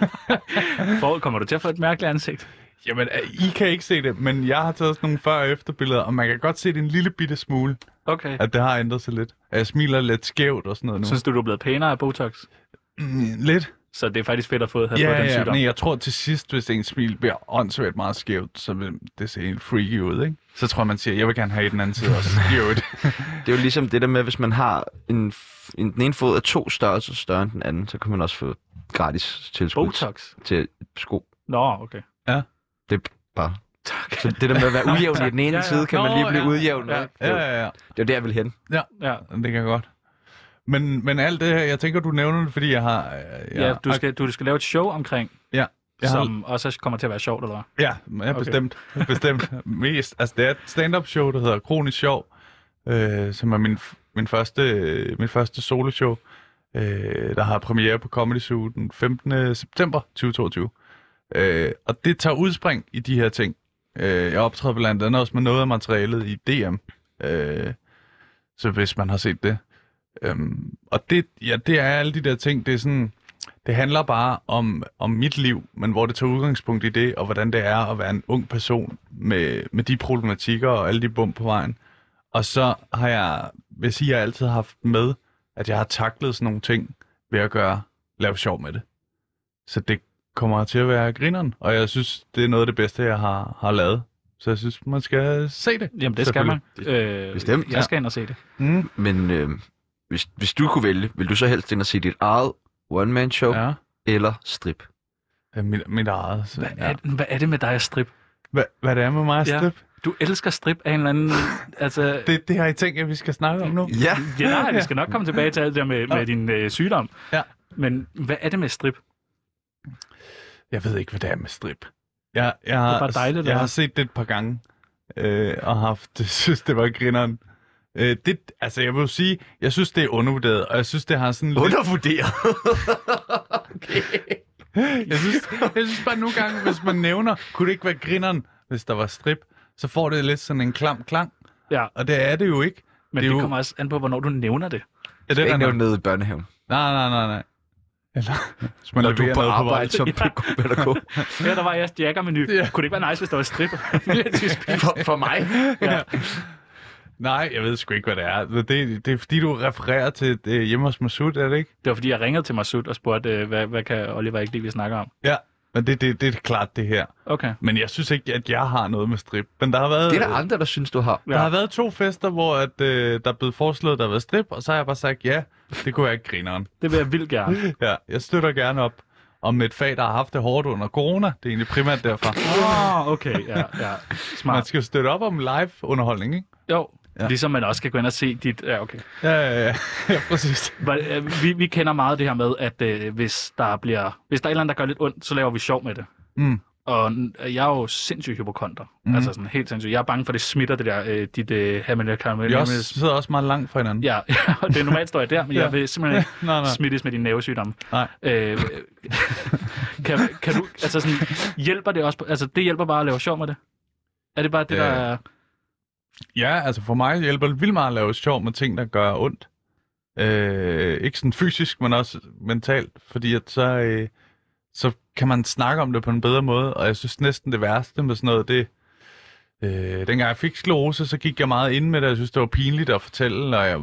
Speaker 4: [LAUGHS]
Speaker 2: Forud kommer du til at få et mærkeligt ansigt.
Speaker 4: Jamen, øh, I kan ikke se det, men jeg har taget sådan nogle før- og efterbilleder, og man kan godt se det en lille bitte smule,
Speaker 2: Okay.
Speaker 4: at det har ændret sig lidt. Og Jeg smiler lidt skævt og sådan noget nu.
Speaker 2: Synes du, du er blevet pænere af Botox?
Speaker 4: Mm, lidt?
Speaker 2: Så det er faktisk fedt at få, at have fået
Speaker 4: Ja,
Speaker 2: den
Speaker 4: ja,
Speaker 2: sygdom.
Speaker 4: men jeg tror til sidst, hvis ens smil bliver åndssvagt meget skævt, så vil det se helt freaky ud, ikke? Så tror jeg, man siger, jeg vil gerne have i den anden side
Speaker 2: [LAUGHS]
Speaker 4: også. Jo, det.
Speaker 3: Det er jo ligesom det der med, hvis man har en, f- en den ene fod er to størrelser større end den anden, så kan man også få gratis tilskud
Speaker 2: Botox?
Speaker 3: til sko.
Speaker 2: Nå, okay.
Speaker 3: Det er bare...
Speaker 2: Tak.
Speaker 3: Så det der med at være ujævn i den ene
Speaker 2: Ja, ja.
Speaker 3: side, kan man
Speaker 4: Nå,
Speaker 3: lige blive
Speaker 4: ja.
Speaker 3: udjævnet.
Speaker 2: Ja.
Speaker 3: ikke?
Speaker 4: Ja, ja, ja.
Speaker 3: Det er jo der, jeg vil hen.
Speaker 2: Ja,
Speaker 4: Det kan godt. Men, men alt det her, jeg tænker, du nævner det, fordi jeg har... øh, Jeg,
Speaker 2: ja, ja du, skal, du skal lave et show omkring,
Speaker 4: Ja, jeg har-
Speaker 2: som også kommer til at være sjovt, eller hvad?
Speaker 4: Ja, ja bestemt. bestemt. Mest. Altså, det er et stand-up show, der hedder Kronisk Sjov, øh, som er min, min første, øh, min første soloshow, øh, der har premiere på Comedy Zoo den 15. september 2022. Øh, og det tager udspring i de her ting. Øh, jeg optræder blandt andet også med noget af materialet i DM, øh, så hvis man har set det. Øhm, og det, ja, det er alle de der ting, det er sådan, det handler bare om, om mit liv, men hvor det tager udgangspunkt i det, og hvordan det er at være en ung person med, med de problematikker og alle de bump på vejen. Og så har jeg, vil jeg sige, jeg altid har haft med, at jeg har taklet sådan nogle ting ved at gøre, lave sjov med det. Så det kommer til at være grineren, og jeg synes, det er noget af det bedste, jeg har, har lavet. Så jeg synes, man skal se det.
Speaker 2: Jamen, det skal man. Øh,
Speaker 3: Bestemt,
Speaker 2: Jeg skal ind og se det.
Speaker 4: Mm.
Speaker 3: Men øh, hvis, hvis du kunne vælge, vil du så helst ind og se dit eget one-man-show ja.
Speaker 4: Ja.
Speaker 3: eller strip?
Speaker 4: Ja, Mit, mit eget. Så,
Speaker 2: Hvad
Speaker 4: ja.
Speaker 2: er, hvad er det med dig at strip?
Speaker 4: hvad, hvad det er med mig,
Speaker 2: Ja.
Speaker 4: Step?
Speaker 2: Du elsker strip af en eller anden... altså,
Speaker 4: Det, det har I tænkt, at vi skal snakke om nu.
Speaker 3: Ja.
Speaker 2: ja, nej, vi skal nok komme tilbage til alt det der med, med din øh, sygdom.
Speaker 4: Ja.
Speaker 2: Men hvad er det med strip?
Speaker 4: Jeg ved ikke, hvad det er med strip. Jeg, jeg, har,
Speaker 2: bare dejligt,
Speaker 4: jeg
Speaker 2: eller?
Speaker 4: har set det et par gange, øh, og haft, [LAUGHS] synes, det var grineren. Øh, det, altså, jeg vil jo sige, jeg synes, det er undervurderet, og jeg synes, det har sådan lidt...
Speaker 3: Undervurderet.
Speaker 4: Jeg synes, jeg synes bare nogle gange, hvis man nævner, kunne det ikke være grineren, hvis der var strip, så får det lidt sådan en klam klang,
Speaker 2: Ja,
Speaker 4: og det er det jo ikke.
Speaker 2: men
Speaker 4: det er
Speaker 2: det,
Speaker 4: jo-
Speaker 2: kommer også an på, hvornår du nævner det.
Speaker 4: Ja, det
Speaker 3: Jeg
Speaker 4: er
Speaker 3: ikke
Speaker 4: der
Speaker 3: nævnt
Speaker 4: nok-
Speaker 3: nede i børnehaven.
Speaker 4: Nej, nej, nej, nej. Eller, hvis
Speaker 3: [LAUGHS]
Speaker 4: man
Speaker 3: Når du er
Speaker 4: leverer
Speaker 3: på
Speaker 4: noget vej.
Speaker 3: arbejde som pædagog.
Speaker 2: Ja, der var jeres jackermenu.
Speaker 4: Ja.
Speaker 2: Ja. Kunne det ikke være nice, hvis der var strip?
Speaker 4: [LAUGHS]
Speaker 3: For, for mig.
Speaker 4: Nej, jeg ved sgu ikke, hvad det er. Det, det, det er fordi, du refererer til det, hjemme hos Masud, er det ikke?
Speaker 2: det var fordi, jeg ringede til Masud og spurgte, øh, hvad, hvad kan Oliver ikke lide, vi snakker om?
Speaker 4: Ja. Men det, det, det er klart det her.
Speaker 2: Okay.
Speaker 4: Men jeg synes ikke, at jeg har noget med strip. Men der har været,
Speaker 3: Det er der andre, der synes, du har.
Speaker 4: der har været to fester, hvor at, øh, der er blevet foreslået, at der har været strip, og så har jeg bare sagt, ja, det kunne jeg ikke grineren.
Speaker 2: Det vil jeg vildt gerne.
Speaker 4: Ja, jeg støtter gerne op om et fag, der har haft det hårdt under corona. Det er egentlig primært derfor.
Speaker 2: Åh, oh, okay, ja, ja.
Speaker 4: Man
Speaker 2: Smart.
Speaker 4: skal jo støtte op om live-underholdning, ikke?
Speaker 2: Jo,
Speaker 4: Ja.
Speaker 2: ja. ligesom man også kan gå ind og se dit... Ja, okay.
Speaker 4: Ja, ja, ja. ja præcis.
Speaker 2: Hvor, øh, Vi, vi kender meget det her med, at øh, hvis der bliver... Hvis der er et eller andet, der gør lidt ondt, så laver vi sjov med det.
Speaker 4: Mm.
Speaker 2: Og n- jeg er jo sindssyg hypokonter. Mm. Altså sådan helt sindssyg. Jeg er bange for, at det smitter det der, øh, dit øh, hermenøl,
Speaker 4: Vi også, sidder også meget langt fra hinanden.
Speaker 2: Ja, [LAUGHS] og det er normalt står jeg der, men
Speaker 4: Ja.
Speaker 2: ja. jeg vil simpelthen [LAUGHS] ikke
Speaker 4: Nej, nej.
Speaker 2: smittes med din nervesygdom.
Speaker 4: Nej.
Speaker 2: Øh, [LAUGHS] kan, kan du, altså sådan, hjælper det også, på, altså det hjælper bare at lave sjov med det? Er det bare det,
Speaker 4: Øh,
Speaker 2: der er...
Speaker 4: Ja, altså for mig hjælper det vildt meget at lave sjov med ting, der gør ondt. Øh, ikke sådan fysisk, men også mentalt, fordi at så, øh, så kan man snakke om det på en bedre måde, og jeg synes næsten det værste med sådan noget, det øh, dengang jeg fik sklerose, så gik jeg meget ind med det, og jeg synes det var pinligt at fortælle, og jeg,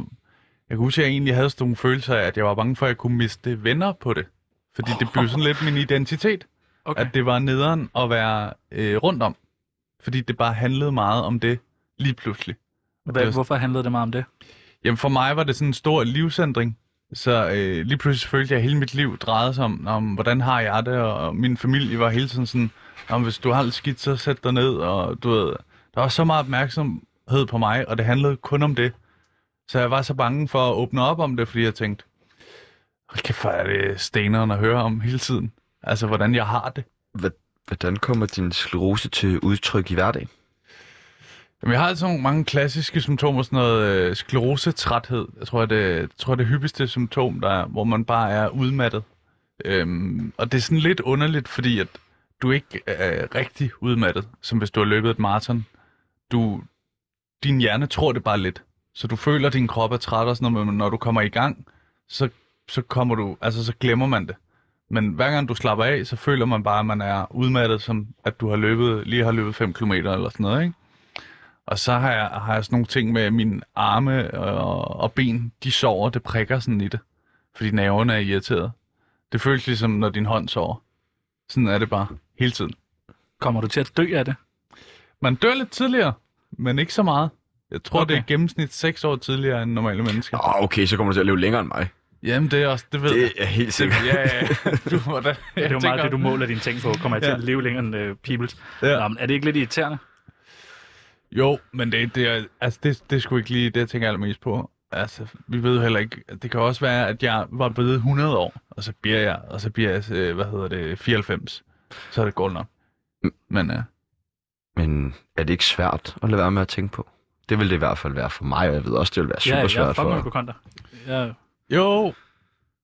Speaker 4: jeg kunne huske, at jeg egentlig havde sådan nogle følelser af, at jeg var bange for, at jeg kunne miste venner på det, fordi det blev sådan lidt min identitet.
Speaker 2: Okay.
Speaker 4: at det var nederen at være øh, rundt om. Fordi det bare handlede meget om det lige pludselig. det
Speaker 2: Hvad,
Speaker 4: var-
Speaker 2: hvorfor handlede det meget om det?
Speaker 4: Jamen for mig var det sådan en stor livsændring. Så øh, lige pludselig følte jeg, at hele mit liv drejede sig om, om hvordan har jeg det, og min familie var hele tiden sådan, om hvis du har det skidt, så sæt dig ned, og du ved, der var så meget opmærksomhed på mig, og det handlede kun om det. Så jeg var så bange for at åbne op om det, fordi jeg tænkte, hold kæft, hvor er det steneren at høre om hele tiden. Altså, hvordan jeg har det.
Speaker 3: Hvordan kommer din sklerose til udtryk i hverdagen?
Speaker 4: Jamen, jeg har altså nogle mange klassiske symptomer, sådan noget øh, sklerosetræthed. Jeg tror, det, jeg tror, det hyppigste symptom, der er, hvor man bare er udmattet. Øhm, og det er sådan lidt underligt, fordi at du ikke er rigtig udmattet, som hvis du har løbet et maraton. Du, din hjerne tror det bare lidt. Så du føler, at din krop er træt og sådan noget, men når du kommer i gang, så, så, kommer du, altså, så glemmer man det. Men hver gang du slapper af, så føler man bare, at man er udmattet, som at du har løbet, lige har løbet 5 km eller sådan noget, ikke? Og så har jeg, har jeg sådan nogle ting med at mine arme og, og ben, de sover, det prikker sådan i det, fordi nerverne er irriteret. Det føles ligesom, når din hånd sover. Sådan er det bare, hele tiden.
Speaker 2: Kommer du til at dø af det?
Speaker 4: Man dør lidt tidligere, men ikke så meget. Jeg tror, okay. det er i
Speaker 2: Okay.
Speaker 4: gennemsnit 6 år tidligere end normale mennesker.
Speaker 3: Åh, oh, okay, så kommer du til at leve længere end mig.
Speaker 4: Jamen, det er også, det ved jeg.
Speaker 3: Det er helt sikkert.
Speaker 4: Ja, ja,
Speaker 2: [LAUGHS]
Speaker 4: ja. Du, hvordan,
Speaker 2: Ja, det er jo meget det, du måler dine ting på. Kommer jeg til
Speaker 4: Ja.
Speaker 2: at leve længere end uh, Peoples?
Speaker 4: Ja.
Speaker 2: Nå, men er det ikke lidt irriterende?
Speaker 4: Jo, men det, det, er, altså det, det er sgu ikke lige det, jeg tænker allermest på. Altså, vi ved jo heller ikke, det kan også være, at jeg var blevet 100 år, og så bliver jeg, og så bliver jeg, øh, hvad hedder det, 94. Så er det godt nok. Men øh,
Speaker 3: Men er det ikke svært at lade være med at tænke på? Det vil det i hvert fald være for mig, og jeg ved også, det vil være
Speaker 2: ja,
Speaker 3: super
Speaker 2: jeg er
Speaker 3: svært
Speaker 2: fucking
Speaker 3: for...
Speaker 2: hypokonder. Jeg,
Speaker 4: jo,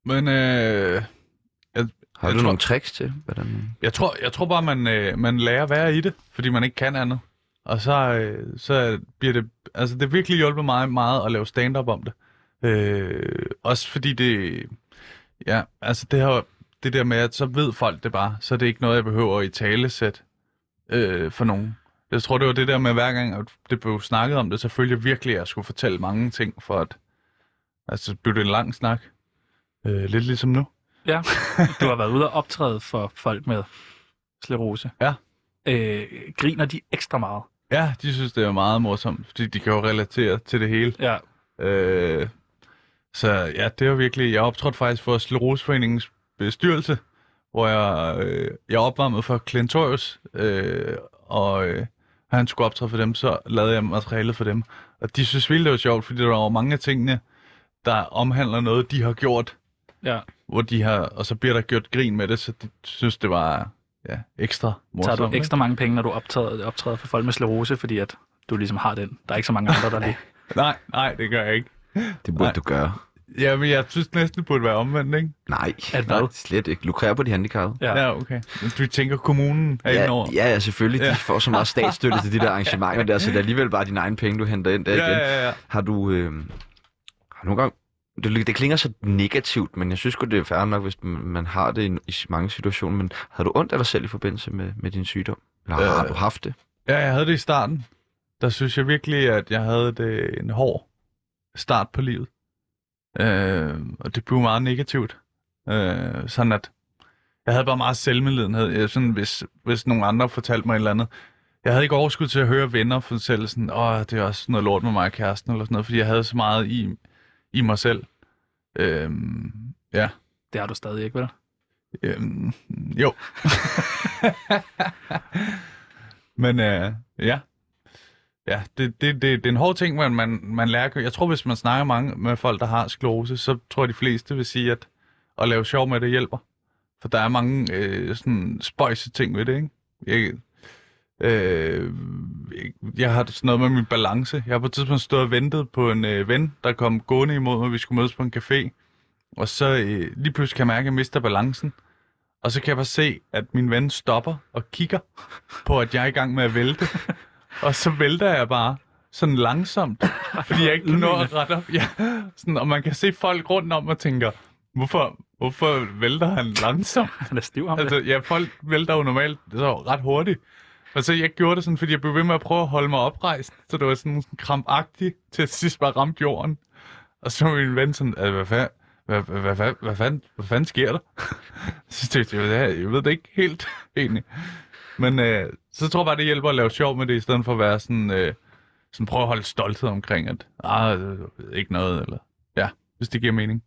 Speaker 4: men øh,
Speaker 3: Har
Speaker 4: jeg
Speaker 3: du
Speaker 4: tror-
Speaker 3: nogle tricks til, hvordan...
Speaker 4: jeg, tror, jeg tror bare, man, øh, man lærer at være i det, fordi man ikke kan andet. Og så, øh, så bliver det, altså det har virkelig hjulpet mig meget at lave stand-up om det. Øh, også fordi det, ja, altså det her, det der med, at så ved folk det bare, så er det ikke noget, jeg behøver at i talesæt øh, for nogen. Jeg tror, det var det der med, hver gang at det blev snakket om det, så følte jeg virkelig, at jeg skulle fortælle mange ting, for at, altså så blev det en lang snak. Øh, lidt ligesom nu.
Speaker 2: ja. Du har været ude og optræde for folk med sklerose.
Speaker 4: Ja.
Speaker 2: Øh, griner de ekstra meget?
Speaker 4: Ja, de synes, det er meget morsomt, fordi de kan jo relatere til det hele.
Speaker 2: Ja.
Speaker 4: Øh, så ja, det var virkelig... Jeg optrådte faktisk for Sleroseforeningens bestyrelse, hvor jeg, øh, jeg opvarmede for Clintorius, øh, og øh, han skulle optræde for dem, så lavede jeg materialet for dem. Og de synes virkelig, det var sjovt, fordi der var mange af tingene, der omhandler noget, de har gjort,
Speaker 2: ja.
Speaker 4: hvor de har, og så bliver der gjort grin med det, så de synes, det var ja, ekstra
Speaker 2: Tager
Speaker 4: morsomt.
Speaker 2: du ekstra mange penge, når du optræder, optræder for folk med sklerose, fordi at du ligesom har den. Der er ikke så mange andre, der lige...
Speaker 4: ikke? Nej, nej, det gør jeg ikke.
Speaker 3: Det burde
Speaker 4: Nej.
Speaker 3: du gøre.
Speaker 4: Ja, men jeg synes næsten, det burde være omvendt, ikke?
Speaker 3: Nej,
Speaker 2: At hvad?
Speaker 3: nej, slet ikke. Lukrere på de handicappede.
Speaker 2: Ja.
Speaker 4: Ja, okay. Men du tænker, kommunen er
Speaker 3: Ja,
Speaker 4: indover?
Speaker 3: ja, ja, selvfølgelig. De
Speaker 4: Ja.
Speaker 3: får så meget statsstøtte til de
Speaker 4: [LAUGHS]
Speaker 3: der arrangementer der, så det er alligevel bare dine egne penge, du henter ind der igen.
Speaker 4: ja, ja.
Speaker 3: Har du... Øh, har du nogle gange... Det, ly- det klinger så negativt, men jeg synes godt det er fair nok, hvis man- man har det i, i mange situationer. Men har du ondt af dig selv i forbindelse med, med din sygdom? Eller har,
Speaker 4: Øh.
Speaker 3: har du haft det?
Speaker 4: Ja, jeg havde det i starten. Der synes jeg virkelig, at jeg havde det en hård start på livet. Øh, og det blev meget negativt. Øh, sådan at jeg havde bare meget selvmedlidenhed. Jeg, sådan, hvis, hvis nogen andre fortalte mig et eller andet. Jeg havde ikke overskud til at høre venner fortælle sådan, åh, det er også noget lort med mig og kæresten, eller sådan noget, fordi jeg havde så meget i, i mig selv. Øh, ja.
Speaker 2: Det har du stadig ikke, vel?
Speaker 4: Øhm, jo. [LAUGHS] Men øh, ja. Ja, det, det, det, det er en hård ting, man, man, man lærer. at gøre. Jeg tror, hvis man snakker mange med folk, der har sklerose, så tror jeg, de fleste vil sige, at at lave sjov med det hjælper. For der er mange øh, sådan spøjse ting ved det, ikke? Jeg, øh, jeg, jeg har sådan noget med min balance. Jeg har på et tidspunkt stået og ventet på en øh, ven, der kom gående imod mig, vi skulle mødes på en café. Og så øh, lige pludselig kan jeg mærke, at jeg mister balancen. Og så kan jeg bare se, at min ven stopper og kigger på, at jeg er i gang med at vælte. og så vælter jeg bare sådan langsomt, fordi jeg ikke kan nå at rette op. Ja, sådan, og man kan se folk rundt om og tænker, hvorfor, hvorfor vælter han langsomt?
Speaker 2: Han er stiv ham.
Speaker 4: Altså, ja, folk vælter jo normalt så ret hurtigt. Og så jeg gjorde det sådan, fordi jeg blev ved med at prøve at holde mig oprejst. Så det var sådan, sådan krampagtigt til at sidst bare ramte jorden. Og så var min ven sådan, "Ah, hvad fanden? hvad, hvad, hvad, hvad, hvad, fanden, hvad fanden sker der? [LAUGHS] så tænkte jeg, jeg, jeg ved det ikke helt [LAUGHS] egentlig. Men øh, så tror jeg bare, det hjælper at lave sjov med det, i stedet for at være sådan, øh, sådan prøve at holde stolthed omkring, at ah, øh, ikke noget, eller ja, hvis det giver mening.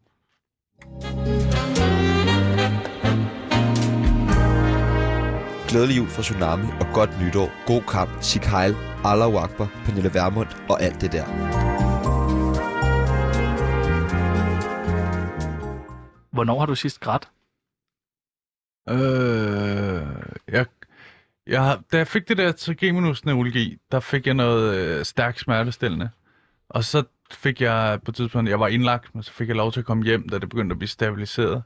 Speaker 5: Glædelig jul fra Tsunami og godt nytår. God kamp. Sig Heil, Allahu Akbar, Pernille Vermund og alt det der.
Speaker 2: Hvornår har du sidst grædt?
Speaker 4: Øh, jeg, jeg, har- da jeg fik det der trigeminusneurologi, der fik jeg noget øh, stærkt smertestillende. Og så fik jeg på et tidspunkt, jeg var indlagt, men så fik jeg lov til at komme hjem, da det begyndte at blive stabiliseret.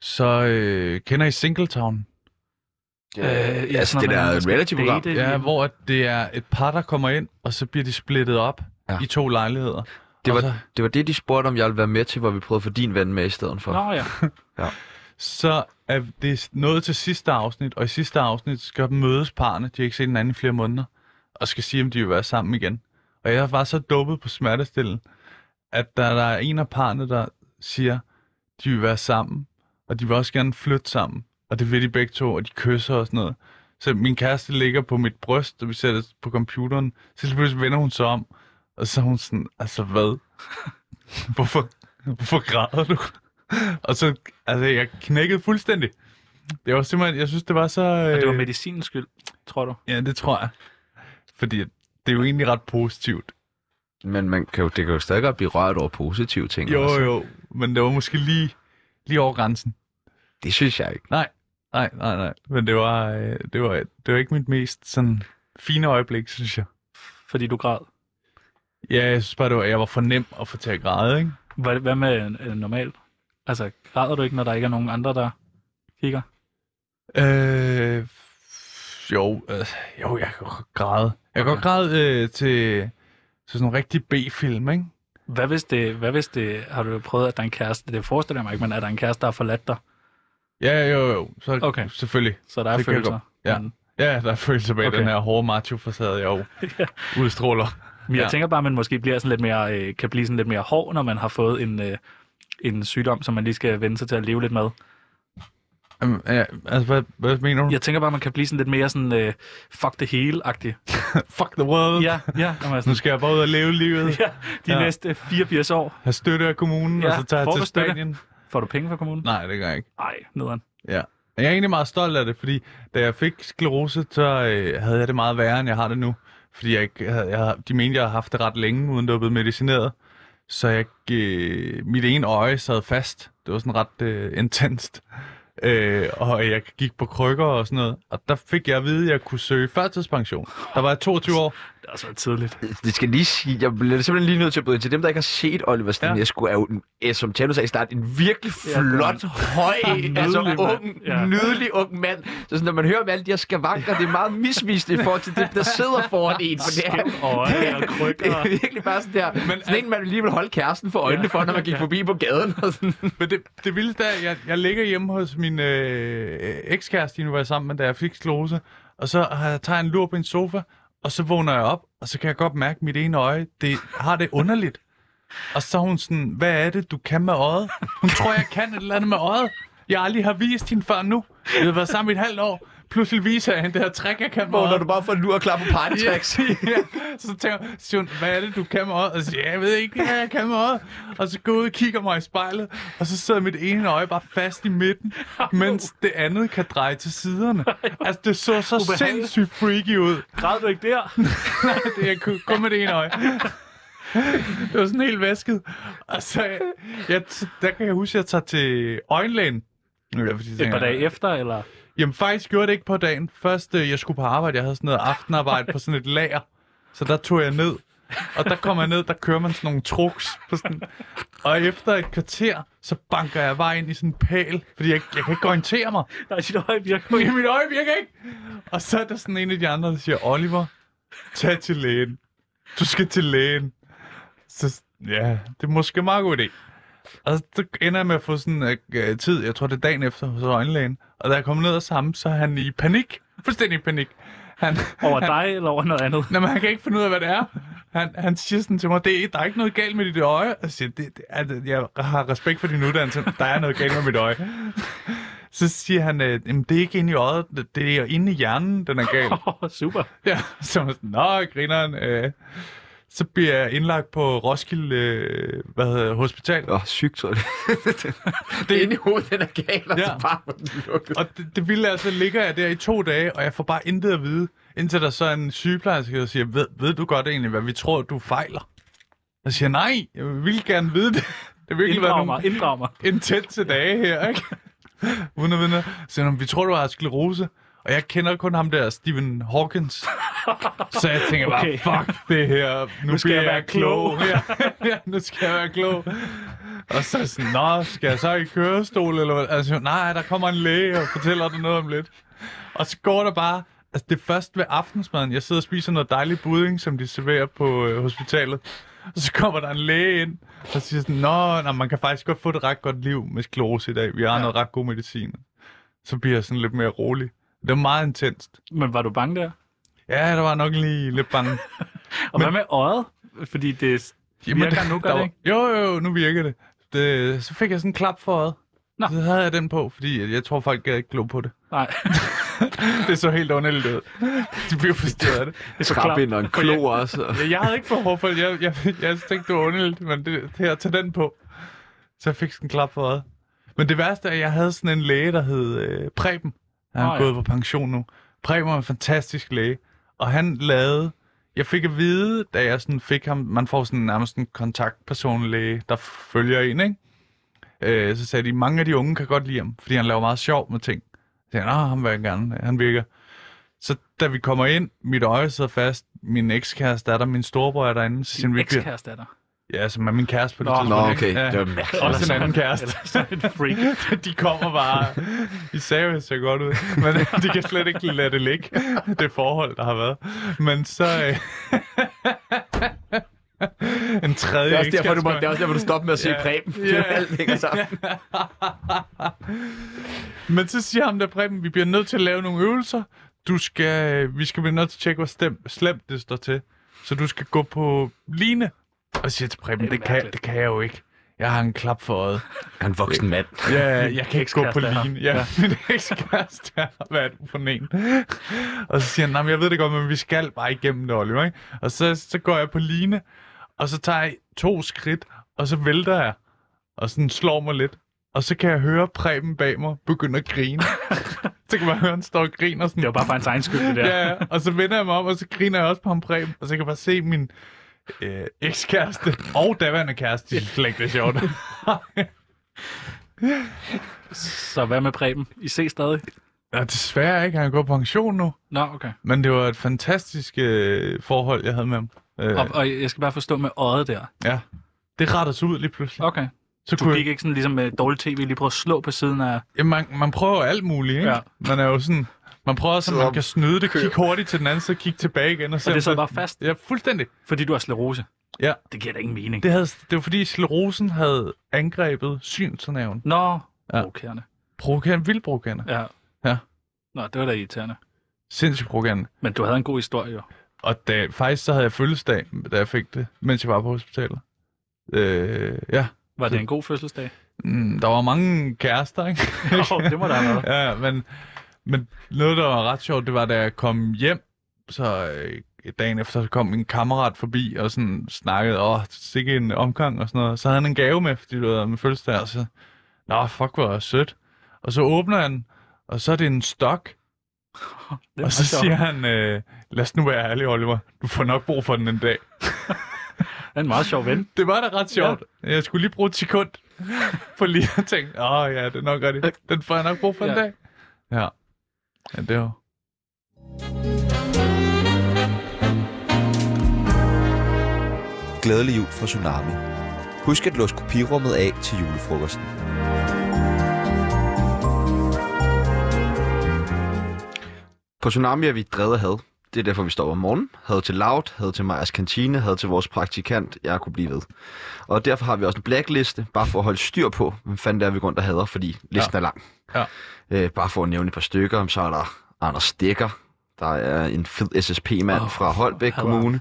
Speaker 4: Så øh, kender I Singletown? øh,
Speaker 2: ja,
Speaker 3: altså,
Speaker 2: sådan
Speaker 3: det
Speaker 2: noget,
Speaker 3: der
Speaker 2: man skal
Speaker 3: reality-program.
Speaker 2: date
Speaker 4: Ja,
Speaker 2: i-
Speaker 4: hvor at det er et par, der kommer ind, og så bliver de splittet op
Speaker 3: Ja.
Speaker 4: ja. i to lejligheder.
Speaker 3: Det
Speaker 4: Og
Speaker 3: var,
Speaker 4: så,
Speaker 3: det var det, de spurgte, om jeg ville være med til, hvor vi prøvede at få din ven med i stedet for.
Speaker 2: Nå ja.
Speaker 4: så er det nået til sidste afsnit, og i sidste afsnit skal mødes parne, de har ikke set hinanden i flere måneder, og skal sige, om de vil være sammen igen. Og jeg var så dopet på smertestillen, at der, der er en af parne, der siger, de vil være sammen, og de vil også gerne flytte sammen. Og det vil de begge to, og de kysser og sådan noget. Så min kæreste ligger på mit bryst, og vi ser det på computeren. Så lige pludselig vender hun sig om, og så er hun sådan, altså hvad? [LAUGHS] Hvorfor, hvorfor græder du? og så, altså jeg knækkede fuldstændig. Det var simpelthen, jeg synes det var så...
Speaker 2: Og det var
Speaker 4: øh,
Speaker 2: medicinens skyld, tror du.
Speaker 4: Ja, det tror jeg. Fordi det er jo egentlig ret positivt.
Speaker 3: Men man kan jo, det kan jo stadig godt blive rørt over positive ting.
Speaker 4: Jo,
Speaker 3: også.
Speaker 4: jo, men det var måske lige, lige over grænsen.
Speaker 3: Det synes jeg ikke.
Speaker 4: Nej, nej, nej. Men det var, øh, det var, det var ikke mit mest sådan, fine øjeblik, synes jeg.
Speaker 2: Fordi du græd.
Speaker 4: Ja, jeg synes bare, det var, jeg var for nem at få til at græde, ikke?
Speaker 2: Hvad, hvad med øh, normalt? Altså, græder du ikke, når der ikke er nogen andre, der kigger?
Speaker 4: Øh, jo, øh, jo, jeg kan godt græde. Jeg kan godt græde øh, til, til sådan en rigtig B-film, ikke?
Speaker 2: Hvad hvis det, hvad hvis det, har du prøvet, at der er en kæreste, det forestiller jeg mig ikke, men er der en kæreste, der har forladt dig,
Speaker 4: Ja, jo, jo. Så,
Speaker 2: Okay.
Speaker 4: okay. Selvfølgelig.
Speaker 2: så der er
Speaker 4: Det kan jeg
Speaker 2: følelser.
Speaker 4: Ja.
Speaker 2: Men,
Speaker 4: Ja, der er følelser bag
Speaker 2: Okay.
Speaker 4: okay. den her hårde macho-facade, jeg [LAUGHS] jo udstråler.
Speaker 2: men jeg
Speaker 4: Ja.
Speaker 2: tænker bare, at man måske bliver sådan lidt mere, øh, kan blive sådan lidt mere hård, når man har fået en, øh, en sygdom, som man lige skal vende sig til at leve lidt med.
Speaker 4: Jamen, ja, altså, hvad, hvad mener du?
Speaker 2: Jeg tænker bare, at man kan blive sådan lidt mere sådan, øh, fuck det hele-agtig.
Speaker 4: Fuck the world.
Speaker 2: Ja, ja. Når man er
Speaker 4: Nu
Speaker 2: sådan,
Speaker 4: skal jeg bare ud og leve livet.
Speaker 2: [LAUGHS] ja de ja.
Speaker 4: Ja.
Speaker 2: næste 84 år
Speaker 4: Have støtte af kommunen,
Speaker 2: Ja,
Speaker 4: og så tager
Speaker 2: får
Speaker 4: jeg
Speaker 2: du
Speaker 4: til
Speaker 2: støtte?
Speaker 4: Spanien.
Speaker 2: får du penge fra kommunen.
Speaker 4: Nej, det gør jeg ikke.
Speaker 2: Nej, nederen.
Speaker 4: Ja. Men Jeg er egentlig meget stolt af det, fordi da jeg fik sklerose, så øh, havde jeg det meget værre, end jeg har det nu. Fordi jeg, ikke havde, jeg, havde- de mente, jeg havde haft det ret længe, uden det var blevet medicineret. Så jeg, øh, mit ene øje sad fast. Det var sådan ret øh, intenst. Øh, og jeg gik på krykker og sådan noget. Og der fik jeg at vide, at jeg kunne søge førtidspension. Der var jeg 22 år.
Speaker 2: Det er altså tidligt.
Speaker 3: Det skal lige sige, jeg bliver simpelthen lige nødt til at bryde ind til dem, der ikke har set Oliver Stanescu, ja. er jo, en, eh, som Tjano sagde i starten, en virkelig
Speaker 2: Ja, det er
Speaker 3: flot, ja, høj,
Speaker 2: Nydelig
Speaker 3: altså
Speaker 2: mand.
Speaker 3: ung,
Speaker 2: Ja.
Speaker 3: ja. nydelig ung mand. Så sådan, når man hører om alle de her skavanker, det er meget misvisende i forhold til det, der sidder foran en. For det er,
Speaker 2: Skævt
Speaker 4: [LAUGHS]
Speaker 2: øje og
Speaker 3: [LAUGHS] det
Speaker 2: krykker.
Speaker 3: er virkelig bare sådan der, Men, sådan en, man lige vil holde kæresten for øjnene
Speaker 2: Ja.
Speaker 3: ja. for, når man gik
Speaker 2: Ja.
Speaker 3: forbi på gaden. Og sådan.
Speaker 4: Men det, det vildeste er, jeg, jeg ligger hjemme hos min øh, ekskæreste, nu var jeg sammen med, da jeg fik sklerose. Og så har jeg, tager jeg en lur på en sofa, og så vågner jeg op, og så kan jeg godt mærke, at mit ene øje det, har det underligt. Og så er hun sådan, hvad er det, du kan med øjet? Hun tror, jeg kan et eller andet med øjet. Jeg aldrig har vist hende før nu. Vi har været sammen i et halvt år. Pludselig viser jeg hende det her trick, jeg kan med øjet.
Speaker 3: bare får en lur og klar på party
Speaker 4: [LAUGHS]
Speaker 3: tracks.
Speaker 4: Ja, så tænker jeg, siger hun, hvad er det, du kan med øjet? Og så siger jeg, jeg ved ikke, hvad jeg kan med øjet. Og så går jeg ud og kigger mig i spejlet, og så sidder mit ene øje bare fast i midten, mens det andet kan dreje til
Speaker 2: [LAUGHS]
Speaker 4: siderne. Altså, det så så
Speaker 2: Ubehageligt.
Speaker 4: sindssygt freaky
Speaker 2: [LAUGHS]
Speaker 4: ud.
Speaker 2: Græd du ikke der?
Speaker 4: Det, jeg kunne kun med det ene øje. Det var sådan helt væsket. Og så, jeg, der kan jeg huske, at jeg tager til øjenlægen. Ja, fordi jeg
Speaker 2: Et
Speaker 4: tænker,
Speaker 2: par dage efter, eller?
Speaker 4: Jamen faktisk gjorde jeg det ikke på dagen. Først, øh, jeg skulle på arbejde, jeg havde sådan noget aftenarbejde på sådan et lager. Så der tog jeg ned. Og der kommer jeg ned, der kører man sådan nogle trucks. På sådan. Og efter et kvarter, så banker jeg bare ind i sådan en pæl, fordi jeg, jeg kan ikke orientere mig.
Speaker 2: Nej, sit øje virker
Speaker 4: I mit øje virker ikke. Og så er der sådan en af de andre, der siger, Oliver, tag til lægen. Du skal til lægen. Så ja, det er måske en meget god idé. Og så ender jeg med at få sådan øh, tid, jeg tror det er dagen efter, hos øjenlægen. Og da jeg kommer ned og sammen, så er han i panik. Fuldstændig i panik. Han,
Speaker 2: over dig eller over noget andet. [LAUGHS]
Speaker 4: Nå, men han kan ikke finde ud af, hvad det er. han, han siger sådan til mig, det, er- der er ikke noget galt med dit øje. Og jeg siger, det, det, altså, jeg har respekt for din uddannelse, der er noget galt med mit øje. Så siger han, øh, "Jamen, det er ikke inde i øjet, det- det er inde i hjernen, den er gal.
Speaker 2: [LAUGHS] Åh, super.
Speaker 4: Ja, så var jeg sådan, nå, grineren. Øh. Så bliver jeg indlagt på Roskilde øh, hvad hedder, det, Hospital.
Speaker 3: Åh, sygt, tror jeg. det er inde i hovedet, den er gal, og
Speaker 4: Ja.
Speaker 3: ja. det er bare den lukket.
Speaker 4: Og det, det vilde er, så ligger jeg der i to dage, og jeg får bare intet at vide, indtil der så er en sygeplejerske, der siger, ved, ved du godt egentlig, hvad vi tror, du fejler? Jeg siger, nej, jeg vil gerne vide det. [LAUGHS] Det har virkelig
Speaker 2: Inddrag
Speaker 4: været
Speaker 2: mig,
Speaker 4: nogle
Speaker 2: inddrag mig.
Speaker 4: intense dage her, ikke? [LAUGHS] Uden at vide noget. Så siger hun, vi tror, du har sklerose. Og jeg kender kun ham der, Stephen
Speaker 2: [LAUGHS]
Speaker 4: Hawkins. Så jeg tænker bare,
Speaker 2: Okay.
Speaker 4: okay. fuck det her. Nu, nu
Speaker 2: skal jeg være klog."
Speaker 4: [LAUGHS] ja, ja, nu skal jeg være klog. Og så sådan, nå, skal jeg så i kørestol? Eller hvad? Altså, nej, der kommer en læge og fortæller dig noget om lidt. Og så går der bare, altså det er først ved aftensmaden, jeg sidder og spiser noget dejlig budding, som de serverer på øh, hospitalet. Og så kommer der en læge ind, og siger sådan, nå, nej, man kan faktisk godt få et ret godt liv med sklerose i dag. Vi har ja. noget ret god medicin. Så bliver jeg sådan lidt mere rolig. Det var meget intenst.
Speaker 2: Men var du bange der?
Speaker 4: Ja, der var nok lige lidt bange.
Speaker 2: Og hvad med øjet? Fordi det... Virker nu, gør
Speaker 4: der
Speaker 2: det
Speaker 4: var-
Speaker 2: ikke?
Speaker 4: Jo, jo, jo, nu virker det. det. Så fik jeg sådan en klap for øjet.
Speaker 2: Nå.
Speaker 4: Nå. Så havde jeg den på, fordi jeg- jeg tror, folk gad ikke glo på det. [LAUGHS]
Speaker 2: Nej,
Speaker 4: Det så helt underligt ud. De blev forstyrret af det.
Speaker 2: det er
Speaker 3: Trap
Speaker 2: klart.
Speaker 3: ind og en klo også. og-
Speaker 4: Ja, jeg havde ikke behov for det. Jeg, jeg, jeg tænkte, det var underligt, men det, det her, tag den på. Så jeg fik sådan en klap for øjet. Men det værste er, at jeg havde sådan en læge, der hed øh, Preben. Han er
Speaker 2: Nå, ja.
Speaker 4: gået på pension nu. Preben var en fantastisk læge. Og han lavede... Jeg fik at vide, da jeg sådan fik ham... Man får sådan nærmest en kontaktpersonlæge, der følger en, ikke? Øh, så sagde de, mange af de unge kan godt lide ham, fordi han laver meget sjov med ting. Så sagde jeg, "Nå, ham vil jeg gerne. Han virker så da vi kommer ind, mit øje sidder fast, min ekskæreste er der, min storebror er derinde. Så siger
Speaker 2: Din
Speaker 4: han, vi bliver...
Speaker 2: ekskæreste er der.
Speaker 4: Ja, som er min kæreste på det
Speaker 2: Nå,
Speaker 4: tidspunkt.
Speaker 3: Nå,
Speaker 4: ikke?
Speaker 3: okay.
Speaker 4: Ja.
Speaker 3: Det var mærkeligt.
Speaker 4: Også
Speaker 2: Eller
Speaker 4: en anden
Speaker 2: sådan-
Speaker 4: kæreste.
Speaker 2: Eller sådan en freak.
Speaker 4: [LAUGHS] de kommer bare... I seriøst ser godt ud, men [LAUGHS] de kan slet ikke lade det ligge, det forhold, der har været. Men så... Øh... [LAUGHS] en tredje
Speaker 3: Det er, også derfor, du må,
Speaker 4: ekskæreste-
Speaker 3: det er også derfor, du stopper med at se
Speaker 4: Ja.
Speaker 3: Preben. Det
Speaker 4: Ja.
Speaker 3: er alt hænger sammen.
Speaker 4: Men så siger ham der Preben, vi bliver nødt til at lave nogle øvelser. Du skal, øh, vi skal blive nødt til at tjekke, hvor stem, slemt det står til. Så du skal gå på line. Og jeg siger til Preben,
Speaker 2: Det er
Speaker 4: det, kan,
Speaker 2: mærkeligt.
Speaker 4: det kan jeg jo ikke. Jeg har en klap for øjet.
Speaker 3: [LAUGHS] Han er en voksen mand.
Speaker 4: Ja, jeg kan ikke gå på
Speaker 2: Ekskæreste er her.
Speaker 4: line. Ja, [LAUGHS] min ekskæreste er her. Hvad er du for en? Og så siger han, nej, men jeg ved det godt, men vi skal bare igennem det, Oliver. Ikke? Og så, så går jeg på line, og så tager jeg to skridt, og så vælter jeg, og sådan slår mig lidt. Og så kan jeg høre Preben bag mig begynde at [LAUGHS] grine. så kan man høre, han står og griner sådan.
Speaker 2: Det var bare for hans egen skyld, det der.
Speaker 4: Ja, ja. Og så vender jeg mig om, og så griner jeg også på ham Preben. Og så kan jeg bare se min øh, ekskæreste og daværende kæreste. De synes slet ikke, det er [LAUGHS] sjovt.
Speaker 2: Så hvad med Preben? I ses stadig?
Speaker 4: Ja, desværre ikke. Han går på pension nu.
Speaker 2: Nå, okay.
Speaker 4: Men det var et fantastisk øh, forhold, jeg havde med ham. Øh,
Speaker 2: Og, og jeg skal bare forstå med øjet der.
Speaker 4: ja. Det rettede sig ud lige pludselig.
Speaker 2: Okay.
Speaker 4: Så
Speaker 2: Du
Speaker 4: kunne
Speaker 2: gik
Speaker 4: jeg,
Speaker 2: ikke sådan ligesom med dårlig tv, lige prøve at slå på siden af...
Speaker 4: ja, man, man prøver alt muligt, ikke?
Speaker 2: Ja.
Speaker 4: Ja. Man er jo sådan... Man prøver også, at man kan snyde det, kigge hurtigt til den anden, så kigge tilbage igen. Og,
Speaker 2: Og
Speaker 4: se,
Speaker 2: det
Speaker 4: om
Speaker 2: sad bare fast,
Speaker 4: Ja, fuldstændig.
Speaker 2: fordi du har sklerose.
Speaker 4: Ja.
Speaker 2: Det giver da ingen mening.
Speaker 4: Det, havde, det var fordi sklerosen havde angrebet synsnerven.
Speaker 2: Nå,
Speaker 4: Ja.
Speaker 2: provokerende.
Speaker 4: Provokerende, vildt provokerende.
Speaker 2: Ja.
Speaker 4: Ja.
Speaker 2: Nå, det var da irriterende.
Speaker 4: Sindssygt provokerende.
Speaker 2: Men du havde en god historie jo.
Speaker 4: Og da, faktisk så havde jeg fødselsdag, da jeg fik det, mens jeg var på hospitalet. Øh, ja.
Speaker 2: Var det en god fødselsdag?
Speaker 4: Mm, der var mange
Speaker 2: [LAUGHS]
Speaker 4: kærester, ikke?
Speaker 2: Nå, det må der have været.
Speaker 4: [LAUGHS] ja, men, men noget, der var ret sjovt, det var, da jeg kom hjem, så øh, dagen efter, så kom min kammerat forbi og sådan snakkede, åh, sikke en omgang og sådan noget. Så havde han en gave med, fordi du havde med fødselsdag, og så, nå, fuck, hvor sødt. Og så åbner han, den, og så er det en stok,
Speaker 2: Det var
Speaker 4: og så
Speaker 2: sjovt.
Speaker 4: siger han, øh, lad os nu være ærlig, Oliver, du får nok brug for den en dag.
Speaker 2: Det er en meget sjov ven.
Speaker 4: Det var da ret sjovt. Ja. Jeg skulle lige bruge et sekund på lige at tænke, åh oh, ja, det er nok rigtigt. Den får jeg nok brug for ja.
Speaker 2: Ja.
Speaker 4: en dag. Ja. ja, det var...
Speaker 5: Glædelig jul fra Tsunami. Husk at låse kopirummet af til julefrokosten.
Speaker 3: På Tsunami er vi drevet af had. Det er derfor, vi står op om morgenen. Had til Loud, had til Majas kantine, had til vores praktikant. Jeg kunne blive ved. Og derfor har vi også en blackliste, bare for at holde styr på, hvem fanden det er, vi går rundt og hader, fordi listen ja. er lang.
Speaker 4: Ja.
Speaker 3: Øh, bare for at nævne et par stykker, så er der Anders Stikker, Der er en fed SSP-mand
Speaker 2: Åh,
Speaker 3: oh, fra Holbæk
Speaker 2: hallo.
Speaker 3: Kommune.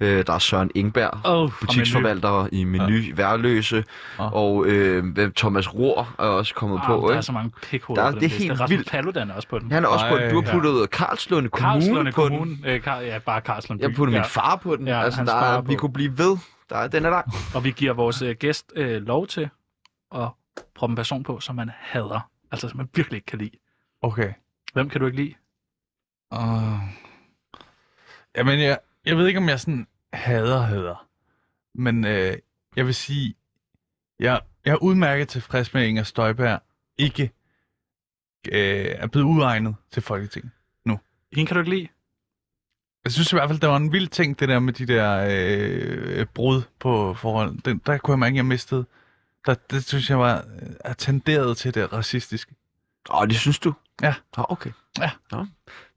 Speaker 3: Øh, der er Søren Ingberg,
Speaker 2: Oh,
Speaker 3: butiksforvalter i Menu ja. Værløse.
Speaker 4: Ja.
Speaker 3: Og øh, hvem- Thomas Rohr er også kommet
Speaker 2: Ah,
Speaker 3: på.
Speaker 2: der er
Speaker 3: Ikke?
Speaker 2: så mange pikhoveder
Speaker 3: Der er-
Speaker 2: på den
Speaker 3: det er
Speaker 2: liste.
Speaker 3: helt
Speaker 2: Rasmus
Speaker 3: vildt.
Speaker 2: Paludan er også på den.
Speaker 3: Han er også på
Speaker 4: Ej,
Speaker 3: den. Du har
Speaker 4: ja.
Speaker 3: puttet ja. Karlslunde Kommune
Speaker 2: Karlslunde
Speaker 3: på den.
Speaker 2: Kommune. Øh, Kar- ja, bare Karlslunde
Speaker 3: Jeg
Speaker 2: by.
Speaker 3: puttede ja.
Speaker 2: ja.
Speaker 3: min far på den.
Speaker 2: Ja,
Speaker 3: Ja, altså,
Speaker 2: hans
Speaker 3: der
Speaker 2: far
Speaker 3: er,
Speaker 2: er på.
Speaker 3: vi kunne blive ved. Der er, den er lang.
Speaker 2: Og vi giver vores øh, gæst øh, lov til at proppe en person på, som man hader. Altså, som man virkelig ikke kan lide.
Speaker 4: Okay.
Speaker 2: Hvem kan du ikke lide?
Speaker 4: Uh... Jamen, jeg, jeg ved ikke, om jeg sådan hader hader. Men øh, jeg vil sige, jeg, jeg er udmærket tilfreds med, at Inger Støjberg ikke øh, er blevet udegnet til Folketinget.
Speaker 2: Hende kan du ikke lide?
Speaker 4: Jeg synes i hvert fald, der var en vild ting, det der med de der øh, brud på forhold. Den, der kunne jeg mærke, jeg mistede. Der, det synes jeg var øh, er tenderet til det racistiske.
Speaker 3: Åh, oh, det synes du?
Speaker 4: Ja.
Speaker 3: Nå, okay.
Speaker 4: Ja.
Speaker 3: Nå.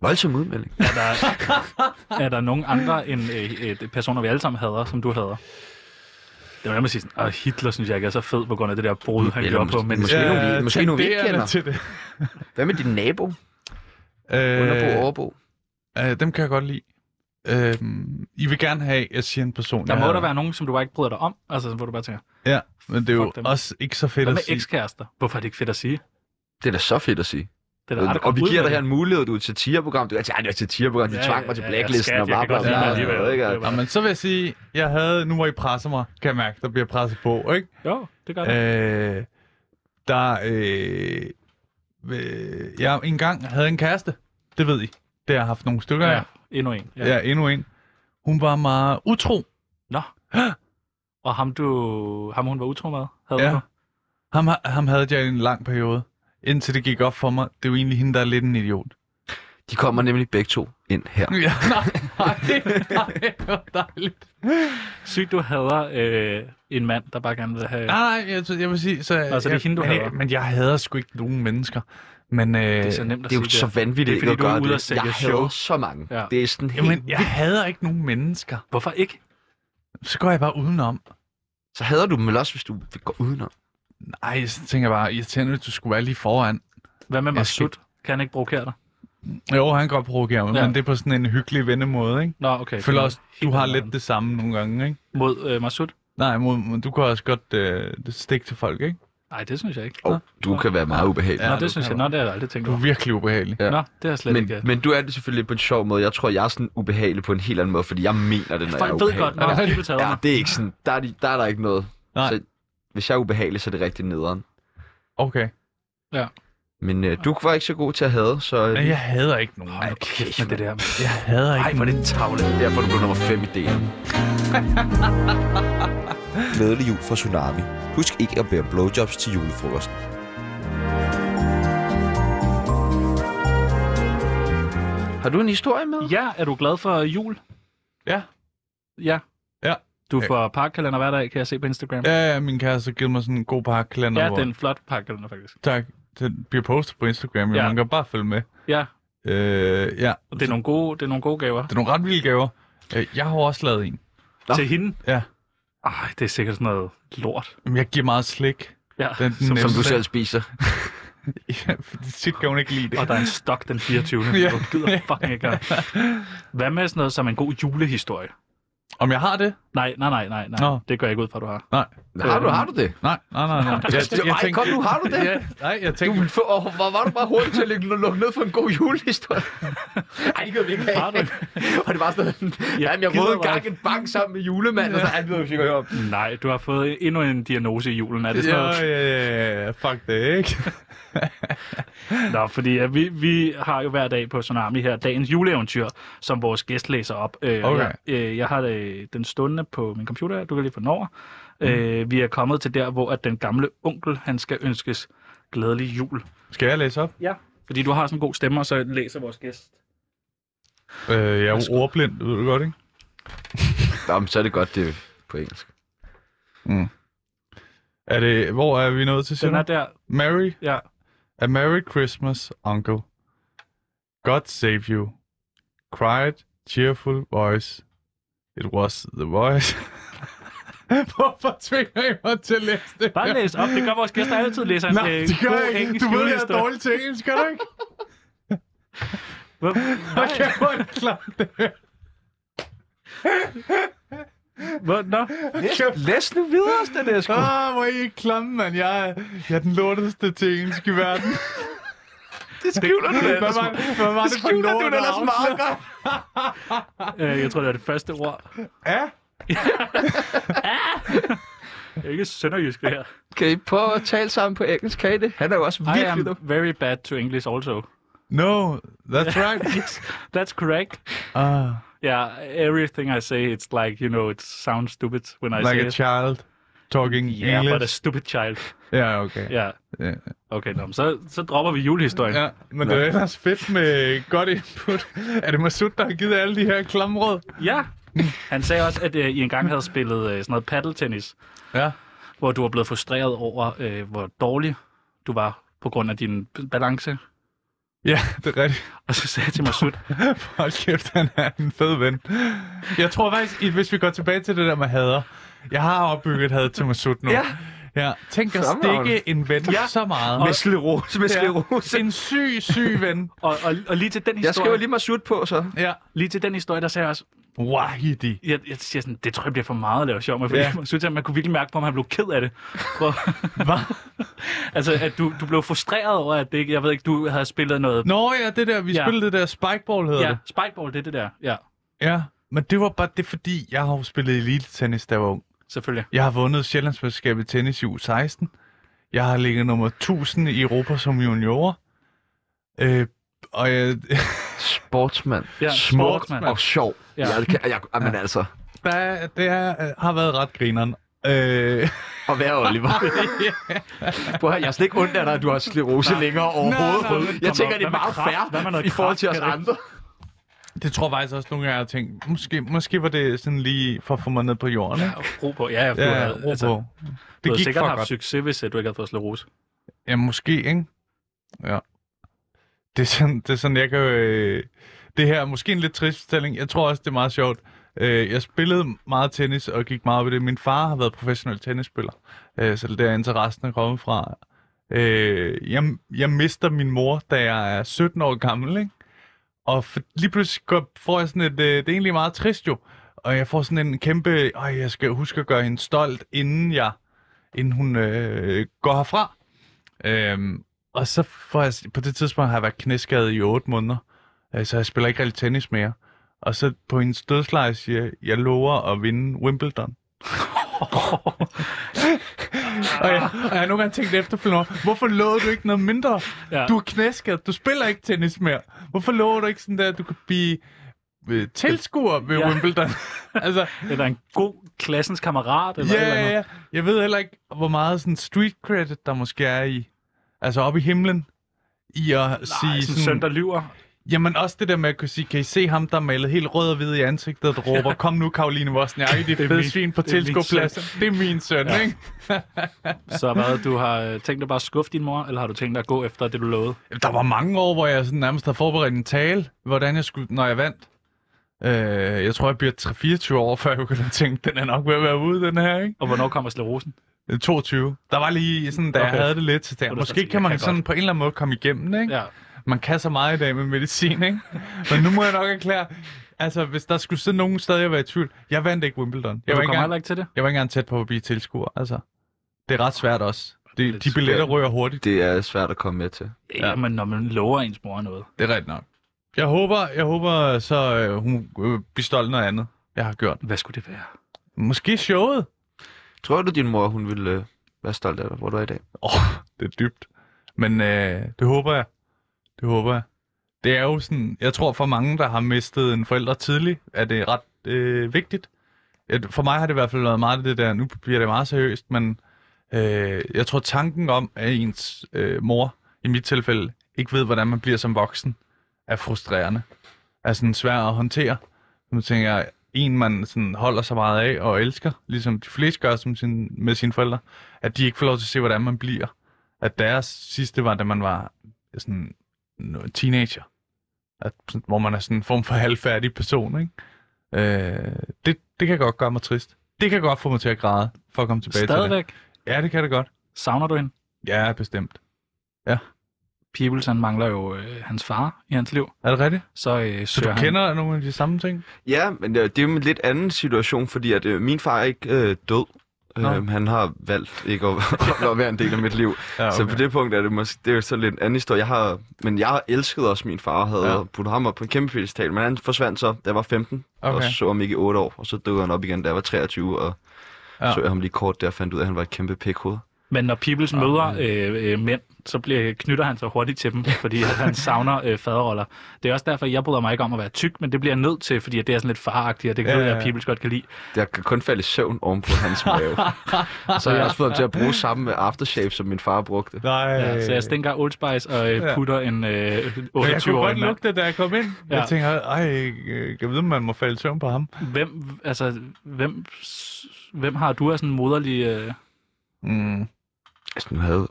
Speaker 3: Voldsom udmelding.
Speaker 2: Er der, er der nogen andre end øh, øh, personer, vi alle sammen hader, som du hader? Det var nærmest sige sådan, at Hitler synes jeg ikke er så fed på grund af det der brud, han
Speaker 3: Eller
Speaker 2: gjorde
Speaker 3: måske-
Speaker 2: på. Men
Speaker 3: måske-
Speaker 2: måske,
Speaker 3: nogle, vi-
Speaker 4: Øh,
Speaker 3: måske nogle, vi ikke
Speaker 4: tenderende
Speaker 3: kender.
Speaker 4: Til det.
Speaker 3: Hvad med din nabo? Underbo,
Speaker 4: Øh,
Speaker 3: overbo?
Speaker 4: øh, dem kan jeg godt lide. Øh, I vil gerne have, at jeg siger en person.
Speaker 2: der
Speaker 4: jeg
Speaker 2: må
Speaker 4: hader.
Speaker 2: der være nogen, som du bare ikke bryder dig om. Altså, hvor du bare tænker,
Speaker 4: Ja, men det er jo
Speaker 2: Fuck dem.
Speaker 4: også ikke så fedt
Speaker 2: hvad
Speaker 4: at
Speaker 2: med
Speaker 4: sige.
Speaker 2: ekskærester? Hvorfor er det ikke fedt at sige?
Speaker 3: Det er da så fedt at sige.
Speaker 2: Det er da rart at
Speaker 3: Og vi
Speaker 2: komme ud
Speaker 3: giver
Speaker 2: med
Speaker 3: dig her
Speaker 2: det.
Speaker 3: en mulighed, du er til tierprogram. Du er til, "Ej, det er til tierprogram, de
Speaker 2: Ja,
Speaker 3: tvang mig til
Speaker 2: ja, ja,
Speaker 3: blacklisten
Speaker 2: skat,
Speaker 3: og
Speaker 2: jeg
Speaker 3: bla
Speaker 2: kan
Speaker 3: bla
Speaker 2: godt lide
Speaker 3: bla.
Speaker 2: dig
Speaker 3: og sådan
Speaker 2: alligevel.
Speaker 3: noget, ikke?
Speaker 2: Det er bare-
Speaker 4: Nå, men så vil jeg sige, jeg havde, nu hvor I presser mig, kan jeg mærke, der bliver presset på, ikke?
Speaker 2: Jo, det gør det.
Speaker 4: Øh, der, øh, øh, jeg engang havde en kæreste, det ved I. Det har jeg haft nogle stykker
Speaker 2: Ja,
Speaker 4: af.
Speaker 2: endnu en.
Speaker 4: Ja. ja, endnu en. Hun var meget utro.
Speaker 2: Nå. Og ham, du, ham hun var utro med, havde
Speaker 4: Ja.
Speaker 2: du?
Speaker 4: Ham, ha- ham havde jeg i en lang periode, indtil det gik op for mig. Det er jo egentlig hende, der er lidt
Speaker 2: [LAUGHS]
Speaker 4: en idiot.
Speaker 3: De kommer nemlig begge to ind her.
Speaker 4: Ja, nej, nej, nej, dejligt.
Speaker 2: Sygt, du hader øh, en mand, der bare gerne vil have...
Speaker 3: Ah.
Speaker 4: Nej, nej, jeg, tror- jeg vil sige... Så,
Speaker 2: Altså, det er
Speaker 4: jeg,
Speaker 2: hende, du
Speaker 4: men,
Speaker 2: hader.
Speaker 4: jeg, men jeg hader sgu ikke nogen mennesker. Men, øh,
Speaker 2: det er så nemt at
Speaker 3: Det er jo
Speaker 2: sige
Speaker 3: så vanvittigt
Speaker 2: Det er,
Speaker 3: ikke at
Speaker 2: fordi du er
Speaker 3: gøre
Speaker 2: ude at
Speaker 3: det.
Speaker 2: sælge
Speaker 3: Jeg
Speaker 2: show.
Speaker 3: hader så mange.
Speaker 2: Ja.
Speaker 3: Det er sådan helt...
Speaker 4: jamen, jeg hader ikke nogen mennesker.
Speaker 2: Hvorfor ikke?
Speaker 4: Så går jeg bare udenom.
Speaker 3: Så hader du dem vel også, hvis du går udenom.
Speaker 4: Nej, så tænker jeg bare, irriterende, hvis du skulle være lige foran.
Speaker 2: Hvad med
Speaker 4: Jeg skal-
Speaker 2: Masud? Kan han ikke provokere dig?
Speaker 4: Jo, han kan godt provokere mig,
Speaker 2: Ja.
Speaker 4: ja. men det er på sådan en hyggelig vennemåde, ikke?
Speaker 2: Nå, okay.
Speaker 4: Jeg føler også, du
Speaker 2: Helt
Speaker 4: har
Speaker 2: anderledes.
Speaker 4: lidt det samme nogle gange, ikke?
Speaker 2: Mod øh, Masud?
Speaker 4: Nej, mod- men du kan også godt øh, stikke til folk, ikke?
Speaker 2: Nej, det synes jeg ikke.
Speaker 3: Oh, du kan være meget ubehagelig.
Speaker 2: Ja, Nå,
Speaker 4: du
Speaker 2: det synes
Speaker 4: kan
Speaker 2: jeg. Nå, det har jeg aldrig tænkt
Speaker 4: Du er
Speaker 2: over.
Speaker 4: virkelig ubehagelig.
Speaker 3: Ja.
Speaker 2: Nå, det har jeg slet
Speaker 3: Men,
Speaker 2: ikke.
Speaker 3: men du er det selvfølgelig på en sjov måde. Jeg tror, jeg er sådan ubehagelig på en helt anden måde, fordi jeg mener det, når jeg er
Speaker 2: Folk ved
Speaker 3: ubehagelig.
Speaker 2: godt, når
Speaker 4: Ja.
Speaker 2: du tager
Speaker 3: Ja,
Speaker 2: mig.
Speaker 3: det er ikke sådan. Der er, de, der, er der ikke noget.
Speaker 4: Nej.
Speaker 3: Så, hvis jeg er ubehagelig, så er det rigtig nederen.
Speaker 4: Okay.
Speaker 3: Men øh, du var ikke så god til at have, så... Øh,
Speaker 4: Men jeg hader ikke nogen.
Speaker 2: Ej, kæft med det der. mand.
Speaker 4: Jeg hader ikke
Speaker 3: Ej, hvor er det tavle. Derfor er du blev nummer 5 i DM.
Speaker 5: Glædelig jul fra Tsunami. Husk ikke at bære blowjobs til julefrokosten.
Speaker 3: Har du en historie med?
Speaker 2: Ja, er du glad for jul?
Speaker 4: Ja.
Speaker 2: Ja.
Speaker 4: Ja.
Speaker 2: Du får pakkalender hver dag, kan jeg se på Instagram.
Speaker 4: Ja, ja, min kæreste har givet mig sådan en god pakkalender.
Speaker 2: Ja,
Speaker 4: hvor-
Speaker 2: den er en flot pakkalender, faktisk.
Speaker 4: Tak. Den bliver postet på Instagram, ja.
Speaker 2: Ja.
Speaker 4: man kan bare følge med.
Speaker 2: Ja,
Speaker 4: Øh, ja.
Speaker 2: og det er nogle gode, det er nogle gode gaver.
Speaker 4: det er nogle ret vilde gaver. Øh, Jeg har også lavet en.
Speaker 3: Nå.
Speaker 2: Til hende?
Speaker 4: Ja.
Speaker 2: Ej, det er sikkert sådan noget lort.
Speaker 4: Men Jeg giver meget slik. [LAUGHS]
Speaker 2: Ja,
Speaker 4: Den nemme.
Speaker 3: Som du
Speaker 4: Jamen,
Speaker 3: selv spiser.
Speaker 4: Ja, fordi tit kan hun ikke lide det.
Speaker 2: og der er en stok den 24.
Speaker 4: Ja.
Speaker 2: ja. Du gider fucking ikke have. Hvad med sådan noget som en god julehistorie?
Speaker 4: Om jeg har det?
Speaker 2: Nej, nej, nej, nej, nej.
Speaker 4: Nå.
Speaker 2: Det gør jeg ikke ud fra, du har.
Speaker 4: Nej.
Speaker 3: Har du, har du det?
Speaker 4: Nej, nej, nej. nej. [LAUGHS] Jeg,
Speaker 3: Jeg, jeg Ej, kom nu, har du det?
Speaker 4: Ja, nej, jeg
Speaker 3: Du
Speaker 4: tænkte...
Speaker 3: ville få, åh, hvor var du bare hurtigt til at lukke lukke ned for en god julehistorie. Ej, det gør vi ikke have. [LAUGHS]
Speaker 2: Har du ikke?
Speaker 3: Og det var sådan, noget, jamen, jeg
Speaker 2: gider
Speaker 3: rådede
Speaker 2: mig
Speaker 3: engang en bank sammen med julemanden, og så er det, vi skal høre om.
Speaker 2: Nej, du har fået endnu en diagnose i julen. Er det sådan
Speaker 4: Ja,
Speaker 2: noget?
Speaker 4: ja, ja, ja, fuck det, ikke?
Speaker 2: Nå, fordi ja, vi, vi har jo hver dag på Tsunami her dagens juleeventyr, som vores gæst læser op. Øh, og
Speaker 4: Okay.
Speaker 2: jeg, øh, jeg har øh, den stående på min computer, her. du kan lige få den over. Mm. Øh, vi er kommet til der, hvor at den gamle onkel, han skal ønskes glædelig jul.
Speaker 4: [LAUGHS] Skal jeg læse op?
Speaker 2: Ja. Fordi du har sådan en god stemme, og så læser vores gæst.
Speaker 4: Øh, jeg er jo ordblind, det ved du godt, ikke?
Speaker 3: Jamen, så er det godt, det er på engelsk.
Speaker 4: Er det, hvor er vi nået til, siger
Speaker 2: Den er
Speaker 4: du?
Speaker 2: der,
Speaker 4: Merry,
Speaker 2: ja.
Speaker 4: a Merry Christmas, Uncle. God save you. Cried, cheerful voice. It was the voice. [LAUGHS] Hvorfor tvinger I mig til at læse det?
Speaker 2: Bare
Speaker 4: her?
Speaker 2: læs op, det gør vores gæster altid, læser en
Speaker 4: Nej,
Speaker 2: øh,
Speaker 4: det gør
Speaker 2: god
Speaker 4: jeg ikke.
Speaker 2: engelsk
Speaker 4: Du ved, jeg er [LAUGHS]
Speaker 2: julehistorie.
Speaker 4: dårlig til engelsk, gør du ikke?
Speaker 2: Hvad?
Speaker 4: Hvor kæft, hvor er det klamt, det her.
Speaker 2: Hvad? Nå.
Speaker 3: Læs, læs nu videre, Stanescu.
Speaker 4: Ah, hvor er I ikke klamme, mand. Jeg er, jeg er den lorteste til engelsk i
Speaker 3: [LAUGHS]
Speaker 4: verden.
Speaker 3: Det skriver du da
Speaker 4: Hvad
Speaker 3: ellers.
Speaker 4: var, hvad var det for
Speaker 3: Skriver
Speaker 4: noget,
Speaker 3: du da ellers meget godt.
Speaker 2: Øh, jeg tror, det er det første ord.
Speaker 4: Ja,
Speaker 2: Jeg er ikke sønderjysk, det her.
Speaker 3: Kan I prøve at tale sammen på engelsk, kan I det? Han er jo også
Speaker 2: I
Speaker 3: virkelig
Speaker 2: am
Speaker 3: dum.
Speaker 2: very bad to English also.
Speaker 4: no, that's right.
Speaker 3: [LAUGHS]
Speaker 2: Yes, that's correct.
Speaker 4: Ah,
Speaker 2: Yeah, everything I say, it's like, you know, it sounds stupid when I
Speaker 4: like
Speaker 2: say
Speaker 4: a
Speaker 2: it.
Speaker 4: child talking
Speaker 2: yeah, but a
Speaker 4: English.
Speaker 2: stupid child.
Speaker 4: Ja, okay.
Speaker 2: Yeah.
Speaker 4: Ja.
Speaker 2: Okay, nå, men så, så dropper vi julehistorien.
Speaker 4: Ja, men det er ellers fedt med godt input. Er det Masud, der har givet alle de her klamråd?
Speaker 2: Ja. Han sagde også, at øh, I engang havde spillet øh, sådan noget paddeltennis,
Speaker 4: Ja.
Speaker 2: hvor du var blevet frustreret over, øh, hvor dårlig du var på grund af din b- balance.
Speaker 4: Ja, det er rigtigt.
Speaker 2: Og så sagde jeg til Masud,
Speaker 4: Hold kæft, han er en fed ven. Jeg tror faktisk, i- hvis vi går tilbage til det der med hader. Jeg har opbygget et had til Masud nu.
Speaker 3: Ja.
Speaker 4: ja. Tænk at
Speaker 3: Fremragende.
Speaker 4: stikke en ven ja. så meget.
Speaker 3: Med slerose, med slerose.
Speaker 4: Ja. En syg, syg ven.
Speaker 2: og, og, og lige til den historie,
Speaker 3: Jeg skriver lige mig sut på, så.
Speaker 4: Ja.
Speaker 2: lige til den historie, der sagde jeg også,
Speaker 4: Wahidi.
Speaker 2: jeg, jeg siger sådan, det tror jeg bliver for meget at lave sjov med, fordi
Speaker 4: Ja.
Speaker 2: yeah. synes, at [LAUGHS] man kunne virkelig mærke på, om han blev ked af det. Prøv.
Speaker 4: Hvad?
Speaker 2: [LAUGHS] altså, at du, du blev frustreret over, at det ikke, jeg ved ikke, du havde spillet noget...
Speaker 4: Nå ja, det der, vi
Speaker 2: Ja.
Speaker 4: ja. spillede det der spikeball, hedder
Speaker 2: ja,
Speaker 4: det.
Speaker 2: spikeball, det er det der. Ja,
Speaker 4: Ja. Men det var bare det, fordi jeg har jo spillet elite-tennis, da jeg var ung.
Speaker 2: selvfølgelig.
Speaker 4: Jeg har vundet Sjællandsmesterskabet i tennis i U16. Jeg har ligget nummer 1000 i Europa som junior. Øh, og jeg,
Speaker 3: Sportsmand.
Speaker 2: Ja,
Speaker 4: Smuk,
Speaker 2: sportsmand.
Speaker 4: mand.
Speaker 3: Og sjov.
Speaker 2: Ja.
Speaker 3: Ja. Jeg, jeg, jeg, jeg, men altså,
Speaker 4: der, er- det er, øh, har været ret grineren. Øh, [LAUGHS]
Speaker 3: og være
Speaker 2: [LAUGHS]
Speaker 3: Oliver. Prøv at høre, jeg er slet ikke ondt af dig, at du har slerose længere overhovedet.
Speaker 4: nej, men
Speaker 3: jeg
Speaker 2: kom
Speaker 3: tænker,
Speaker 2: op.
Speaker 3: det
Speaker 2: Hvad med
Speaker 3: er meget
Speaker 2: kraft? Hvad med
Speaker 3: fair
Speaker 2: noget
Speaker 3: i forhold til os
Speaker 2: kraft? Kan
Speaker 3: andre.
Speaker 4: det tror jeg faktisk også nogle gange, jeg har tænkt, måske, måske var det sådan lige for at få mig ned på jorden.
Speaker 2: Ja,
Speaker 4: ikke?
Speaker 2: ro på. Ja, ja, for du
Speaker 4: Ja,
Speaker 2: havde- altså,
Speaker 4: ro på.
Speaker 2: du
Speaker 4: Det
Speaker 2: havde
Speaker 4: gik
Speaker 2: sikkert
Speaker 4: for
Speaker 2: haft
Speaker 4: godt.
Speaker 2: succes, hvis øh, du ikke havde fået slerose.
Speaker 4: Ja, måske, ikke? Ja. Det er sådan, det er sådan jeg kan... Øh, det her er måske en lidt trist fortælling. Jeg tror også, det er meget sjovt. Øh, jeg spillede meget tennis og gik meget op i det. Min far har været professionel tennisspiller, øh, så det er der interessen er kommet fra. Øh, jeg, jeg mister min mor, da jeg er 17 år gammel, ikke? Og for, lige pludselig går, får jeg sådan et... Øh, det er egentlig meget trist jo. Og jeg får sådan en kæmpe... Øh, jeg skal huske at gøre hende stolt, inden jeg inden hun øh, går herfra. Øhm, og så får jeg, på det tidspunkt har jeg været knæskadet i 8 måneder, øh, så jeg spiller ikke rigtig tennis mere. Og så på hendes dødsleje siger jeg, jeg lover at vinde Wimbledon. [LAUGHS] og, jeg, og jeg har nogle gange tænkt efterfølgende, over, hvorfor lovede du ikke noget mindre?
Speaker 2: Ja.
Speaker 4: Du er knæskadet, du spiller ikke tennis mere. Hvorfor lover du ikke sådan der, at du kan blive øh, tilskuer ved
Speaker 2: Ja.
Speaker 4: ja. Wimbledon? [LAUGHS] altså,
Speaker 2: Eller en god klassens kammerat, eller et eller
Speaker 4: Ja,
Speaker 2: andet.
Speaker 4: ja, ja. Jeg ved heller ikke, hvor meget sådan street credit, der måske er i, altså op i himlen, i at Nej,
Speaker 2: Ej,
Speaker 4: sige
Speaker 2: sådan en
Speaker 4: sådan,
Speaker 2: søn, der lyver.
Speaker 4: jamen også det der med at kunne sige, kan I se ham, der er malet helt rød og hvid i ansigtet, der råber, kom nu Karoline Wozniacki,
Speaker 2: [LAUGHS]
Speaker 4: det,
Speaker 2: Det er
Speaker 4: fede
Speaker 2: min-
Speaker 4: svin på
Speaker 2: det er min
Speaker 4: tilskuerpladsen. Det er min søn,
Speaker 2: Ja.
Speaker 4: ja. ikke?
Speaker 2: [LAUGHS] Så hvad, du har øh, tænkt dig bare at skuffe din mor, eller har du tænkt dig at gå efter det, du lovede?
Speaker 4: Der var mange år, hvor jeg sådan nærmest havde forberedt en tale, hvordan jeg skulle, når jeg vandt. Øh, jeg tror, jeg bliver 24 år, før jeg begynder at tænke, den er nok ved at være ude, den her, ikke?
Speaker 2: Og hvornår kommer slerosen?
Speaker 4: 22. Der var lige sådan, da okay.
Speaker 2: Okay.
Speaker 4: jeg havde det lidt, så tænkte jeg,
Speaker 2: du sådan,
Speaker 4: måske
Speaker 2: jeg
Speaker 4: kan man
Speaker 2: kan
Speaker 4: kan sådan
Speaker 2: godt.
Speaker 4: på en eller anden måde komme igennem det, ikke?
Speaker 2: Ja.
Speaker 4: Man kan så meget i dag med medicin, ikke? Men nu må jeg nok erklære, altså hvis der skulle sidde nogen stadig og være i tvivl, jeg vandt ikke Wimbledon.
Speaker 2: Jeg
Speaker 4: Jeg var
Speaker 2: du
Speaker 4: ikke,
Speaker 2: kommer heller
Speaker 4: engang,
Speaker 2: ikke til det?
Speaker 4: jeg var ikke engang tæt på at blive tilskuer, altså. Det er ret svært også. De,
Speaker 2: Lidt
Speaker 4: de billetter
Speaker 3: svært.
Speaker 4: ryger hurtigt.
Speaker 3: Det er svært at komme med til.
Speaker 2: Ja. men når man lover ens mor noget.
Speaker 4: Det er rigtigt nok. Jeg håber, jeg håber så øh, hun øh, bliver stolt af noget andet, jeg har gjort.
Speaker 2: Hvad skulle det være?
Speaker 4: Måske showet.
Speaker 3: Tror du, din mor hun ville øh, være stolt af dig, hvor du er i dag?
Speaker 4: Åh, oh, det er dybt. Men øh, det håber jeg. Det håber jeg. Det er jo sådan, jeg tror for mange, der har mistet en forælder tidligt, er det ret øh, vigtigt. Et- For mig har det i hvert fald været meget det der, nu bliver det meget seriøst, men øh, jeg tror tanken om, at ens øh, mor, i mit tilfælde, ikke ved, hvordan man bliver som voksen, er frustrerende. Er sådan svær at håndtere. Nu tænker jeg, en man sådan holder så meget af og elsker, ligesom de fleste gør som sin, med sine forældre, at de ikke får lov til at se, hvordan man bliver. At deres sidste var, da man var sådan en teenager. At, sådan- hvor man er sådan en form for [LAUGHS] halvfærdig person, ikke? Øh, det, det kan godt gøre mig trist. Det kan godt få mig til at græde, for at komme tilbage til
Speaker 2: Stadigvæk?
Speaker 4: det. Ja, det kan det godt.
Speaker 2: Savner du hende?
Speaker 4: Ja, bestemt.
Speaker 2: Peopleson mangler jo øh, hans far i hans liv,
Speaker 4: Er det rigtigt?
Speaker 2: så øh,
Speaker 4: Så
Speaker 2: søger
Speaker 4: du
Speaker 2: han...
Speaker 4: kender nogle af de samme ting?
Speaker 3: Ja, men øh, det, det er jo en lidt anden situation, fordi at, øh, min far er ikke øh, død.
Speaker 4: Nå.
Speaker 3: Øhm, han har valgt ikke at, [LAUGHS] at være en del af mit liv. Okay.
Speaker 4: Ja,
Speaker 3: Så på det punkt er det måske det er jo så lidt en anden historie. Jeg har, men jeg har elsket også min far, havde
Speaker 4: Ja.
Speaker 3: ja. puttet ham op på en kæmpe pedestal, men han forsvandt så, da jeg var 15, okay. og
Speaker 4: Okay.
Speaker 3: så ham ikke i 8 år, og så dukkede han op igen, da jeg var 23, og
Speaker 4: Ja.
Speaker 3: ja. så jeg ham lige kort der og fandt ud af, at han var et kæmpe pikhoved.
Speaker 2: Men når Peoples
Speaker 4: Ah,
Speaker 2: møder øh, øh, mænd, så bliver, knytter han sig hurtigt til dem, fordi at han savner øh, faderroller. Det er også derfor, jeg bryder mig ikke om at være tyk, men det bliver jeg nødt til, fordi at det er sådan lidt faragtigt, og det kan
Speaker 4: Ja,
Speaker 2: ja, ja,
Speaker 4: ja,
Speaker 2: at
Speaker 4: ja.
Speaker 2: Peoples godt kan lide.
Speaker 3: Jeg kan kun falde i søvn oven på
Speaker 4: [LAUGHS]
Speaker 3: hans mave. så har jeg også fået ham til at bruge sammen med aftershave, som min far brugte.
Speaker 4: Nej.
Speaker 2: Ja, så jeg stinker Old Spice og øh,
Speaker 4: øh, Ja.
Speaker 2: putter en øh,
Speaker 4: Men jeg
Speaker 2: 28
Speaker 4: kunne
Speaker 2: årig
Speaker 4: godt
Speaker 2: mand.
Speaker 4: lugte det, da jeg kom ind.
Speaker 2: Ja.
Speaker 4: Ja. Jeg tænker, ej, øh, jeg ved, man må falde i søvn på ham.
Speaker 2: Hvem, altså, hvem, hvem har du af sådan en moderlig... Øh...
Speaker 4: Mm.
Speaker 3: Altså, nu havde,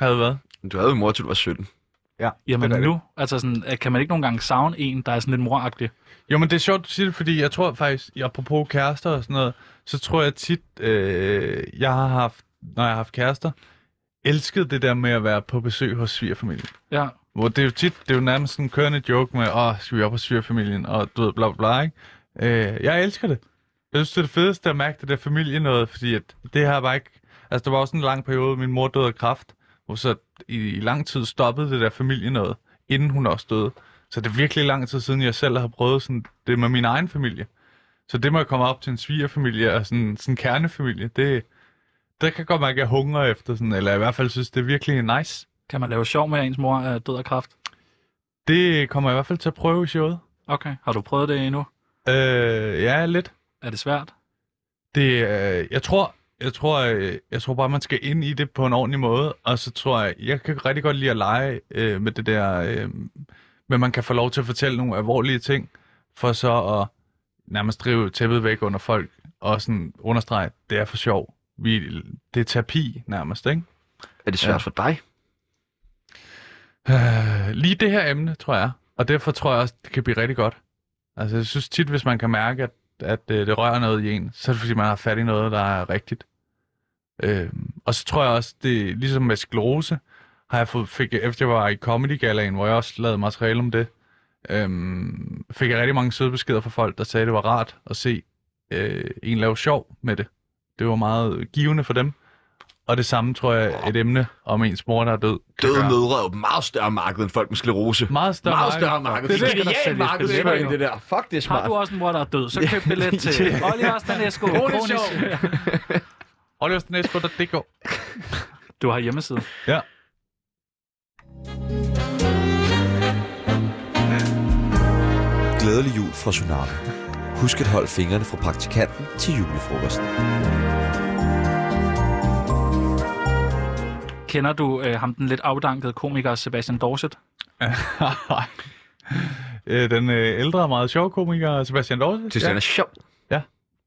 Speaker 4: Havde hvad?
Speaker 3: du havde jo mor, til du var 17.
Speaker 2: Jamen
Speaker 4: Det er
Speaker 2: nu, altså sådan, øh, kan man ikke nogle gange savne en, der er sådan lidt moragtig?
Speaker 4: Jo, men det er sjovt, du siger det, fordi jeg tror faktisk, apropos kærester og sådan noget, så tror jeg tit, øh, jeg har haft, når jeg har haft kærester, elsket det der med at være på besøg hos svigerfamilien.
Speaker 2: Ja.
Speaker 4: Hvor det er jo tit, det er jo nærmest sådan en kørende joke med, åh, skal vi op hos svigerfamilien, og du ved, bla bla bla, ikke? Øh, jeg elsker det. Jeg synes, det er det fedeste at mærke det der familie noget, fordi at det her var ikke... Altså, der var også en lang periode, min mor døde af kræft, hvor så i, i lang tid stoppede det der familie noget, inden hun også døde. Så det er virkelig lang tid siden, jeg selv har prøvet sådan, det med min egen familie. Så det med at komme op til en svigerfamilie og sådan sådan en kernefamilie, det, det kan godt mærke, at jeg hungrer efter sådan, eller i hvert fald synes, det er virkelig nice.
Speaker 2: Kan man lave sjov med, at ens mor er død af kraft?
Speaker 4: Det kommer jeg i hvert fald til at prøve i showet.
Speaker 2: Okay. Har du prøvet det endnu?
Speaker 4: Øh, ja, lidt.
Speaker 2: Er det svært?
Speaker 4: Det, øh, jeg tror, jeg tror, øh, jeg tror bare, man skal ind i det på en ordentlig måde, og så tror jeg, jeg kan rigtig godt lide at lege øh, med det der, øh, men man kan få lov til at fortælle nogle alvorlige ting, for så at nærmest drive tæppet væk under folk, og sådan understrege, det er for sjov. Vi, det er terapi nærmest, ikke?
Speaker 3: Er det svært
Speaker 4: Ja.
Speaker 3: ja. for dig?
Speaker 4: Øh, lige det her emne, tror jeg. Og derfor tror jeg også, det kan blive rigtig godt. Altså, jeg synes tit, hvis man kan mærke, at, at øh, det rører noget i en, så er det fordi, man har fat i noget, der er rigtigt. Øh, og så tror jeg også, det ligesom med sklose, har jeg fået, fik, jeg- efter jeg var i Comedy Galaen, hvor jeg også lavede materiale om det, øh, fik jeg rigtig mange søde beskeder fra folk, der sagde, at det var rart at se øh, en lave sjov med det. Det var meget givende for dem. Og det samme, tror jeg, et emne om ens mor, der er død. kan
Speaker 3: Døde
Speaker 4: gøre.
Speaker 3: mødre er jo et meget større marked end folk med sklerose.
Speaker 4: Meget større
Speaker 3: meget større marked.
Speaker 2: Det er det,
Speaker 3: det,
Speaker 2: der sælges
Speaker 3: marked
Speaker 2: billetter
Speaker 3: sælger
Speaker 2: jo.
Speaker 3: det der. Fuck, det er
Speaker 2: Har
Speaker 3: smart.
Speaker 2: du også en mor, der er død,
Speaker 4: [LAUGHS]
Speaker 2: så køb billet til Oliver Stanesco. Kronisk.
Speaker 4: Oliver Stanesco, der det går.
Speaker 2: Du har hjemmeside.
Speaker 4: Ja.
Speaker 5: Glædelig jul fra Tsunami. Husk at holde fingrene fra praktikanten til julefrokosten.
Speaker 2: Kender du øh, ham, den lidt afdankede komiker Sebastian Dorset?
Speaker 4: [LAUGHS] Øh, den øh, ældre, meget sjov komiker, Sebastian Dorset.
Speaker 3: Synes, ja. han er sjov.
Speaker 2: Han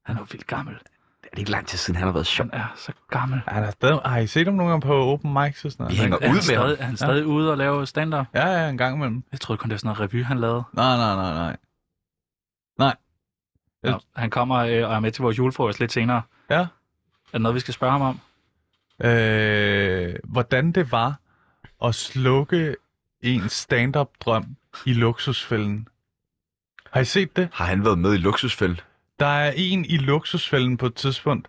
Speaker 2: er jo vildt gammel.
Speaker 3: Det er ikke lang tid siden, han har været sjov.
Speaker 2: Han er så gammel.
Speaker 4: Ja. Han er stadig... Har I set ham nogle gange på open mics og sådan
Speaker 3: Vi
Speaker 4: noget?
Speaker 3: hænger
Speaker 2: Er
Speaker 3: ud
Speaker 2: han
Speaker 3: med ham.
Speaker 2: stadig, er han stadig ude og lave stand-up?
Speaker 4: Ja, ja, en gang imellem.
Speaker 2: Jeg troede kun, det var sådan noget revy, han lavede.
Speaker 4: Nej, nej, nej, nej. Ja.
Speaker 2: Nå, han kommer øh, og er med til vores julefrokost lidt senere.
Speaker 4: Ja.
Speaker 2: Er det noget, vi skal spørge ham om?
Speaker 4: Øh, hvordan det var at slukke en stand-up-drøm i luksusfælden. Har I set det?
Speaker 3: Har han været med i luksusfælden?
Speaker 4: Der er en i luksusfælden på et tidspunkt,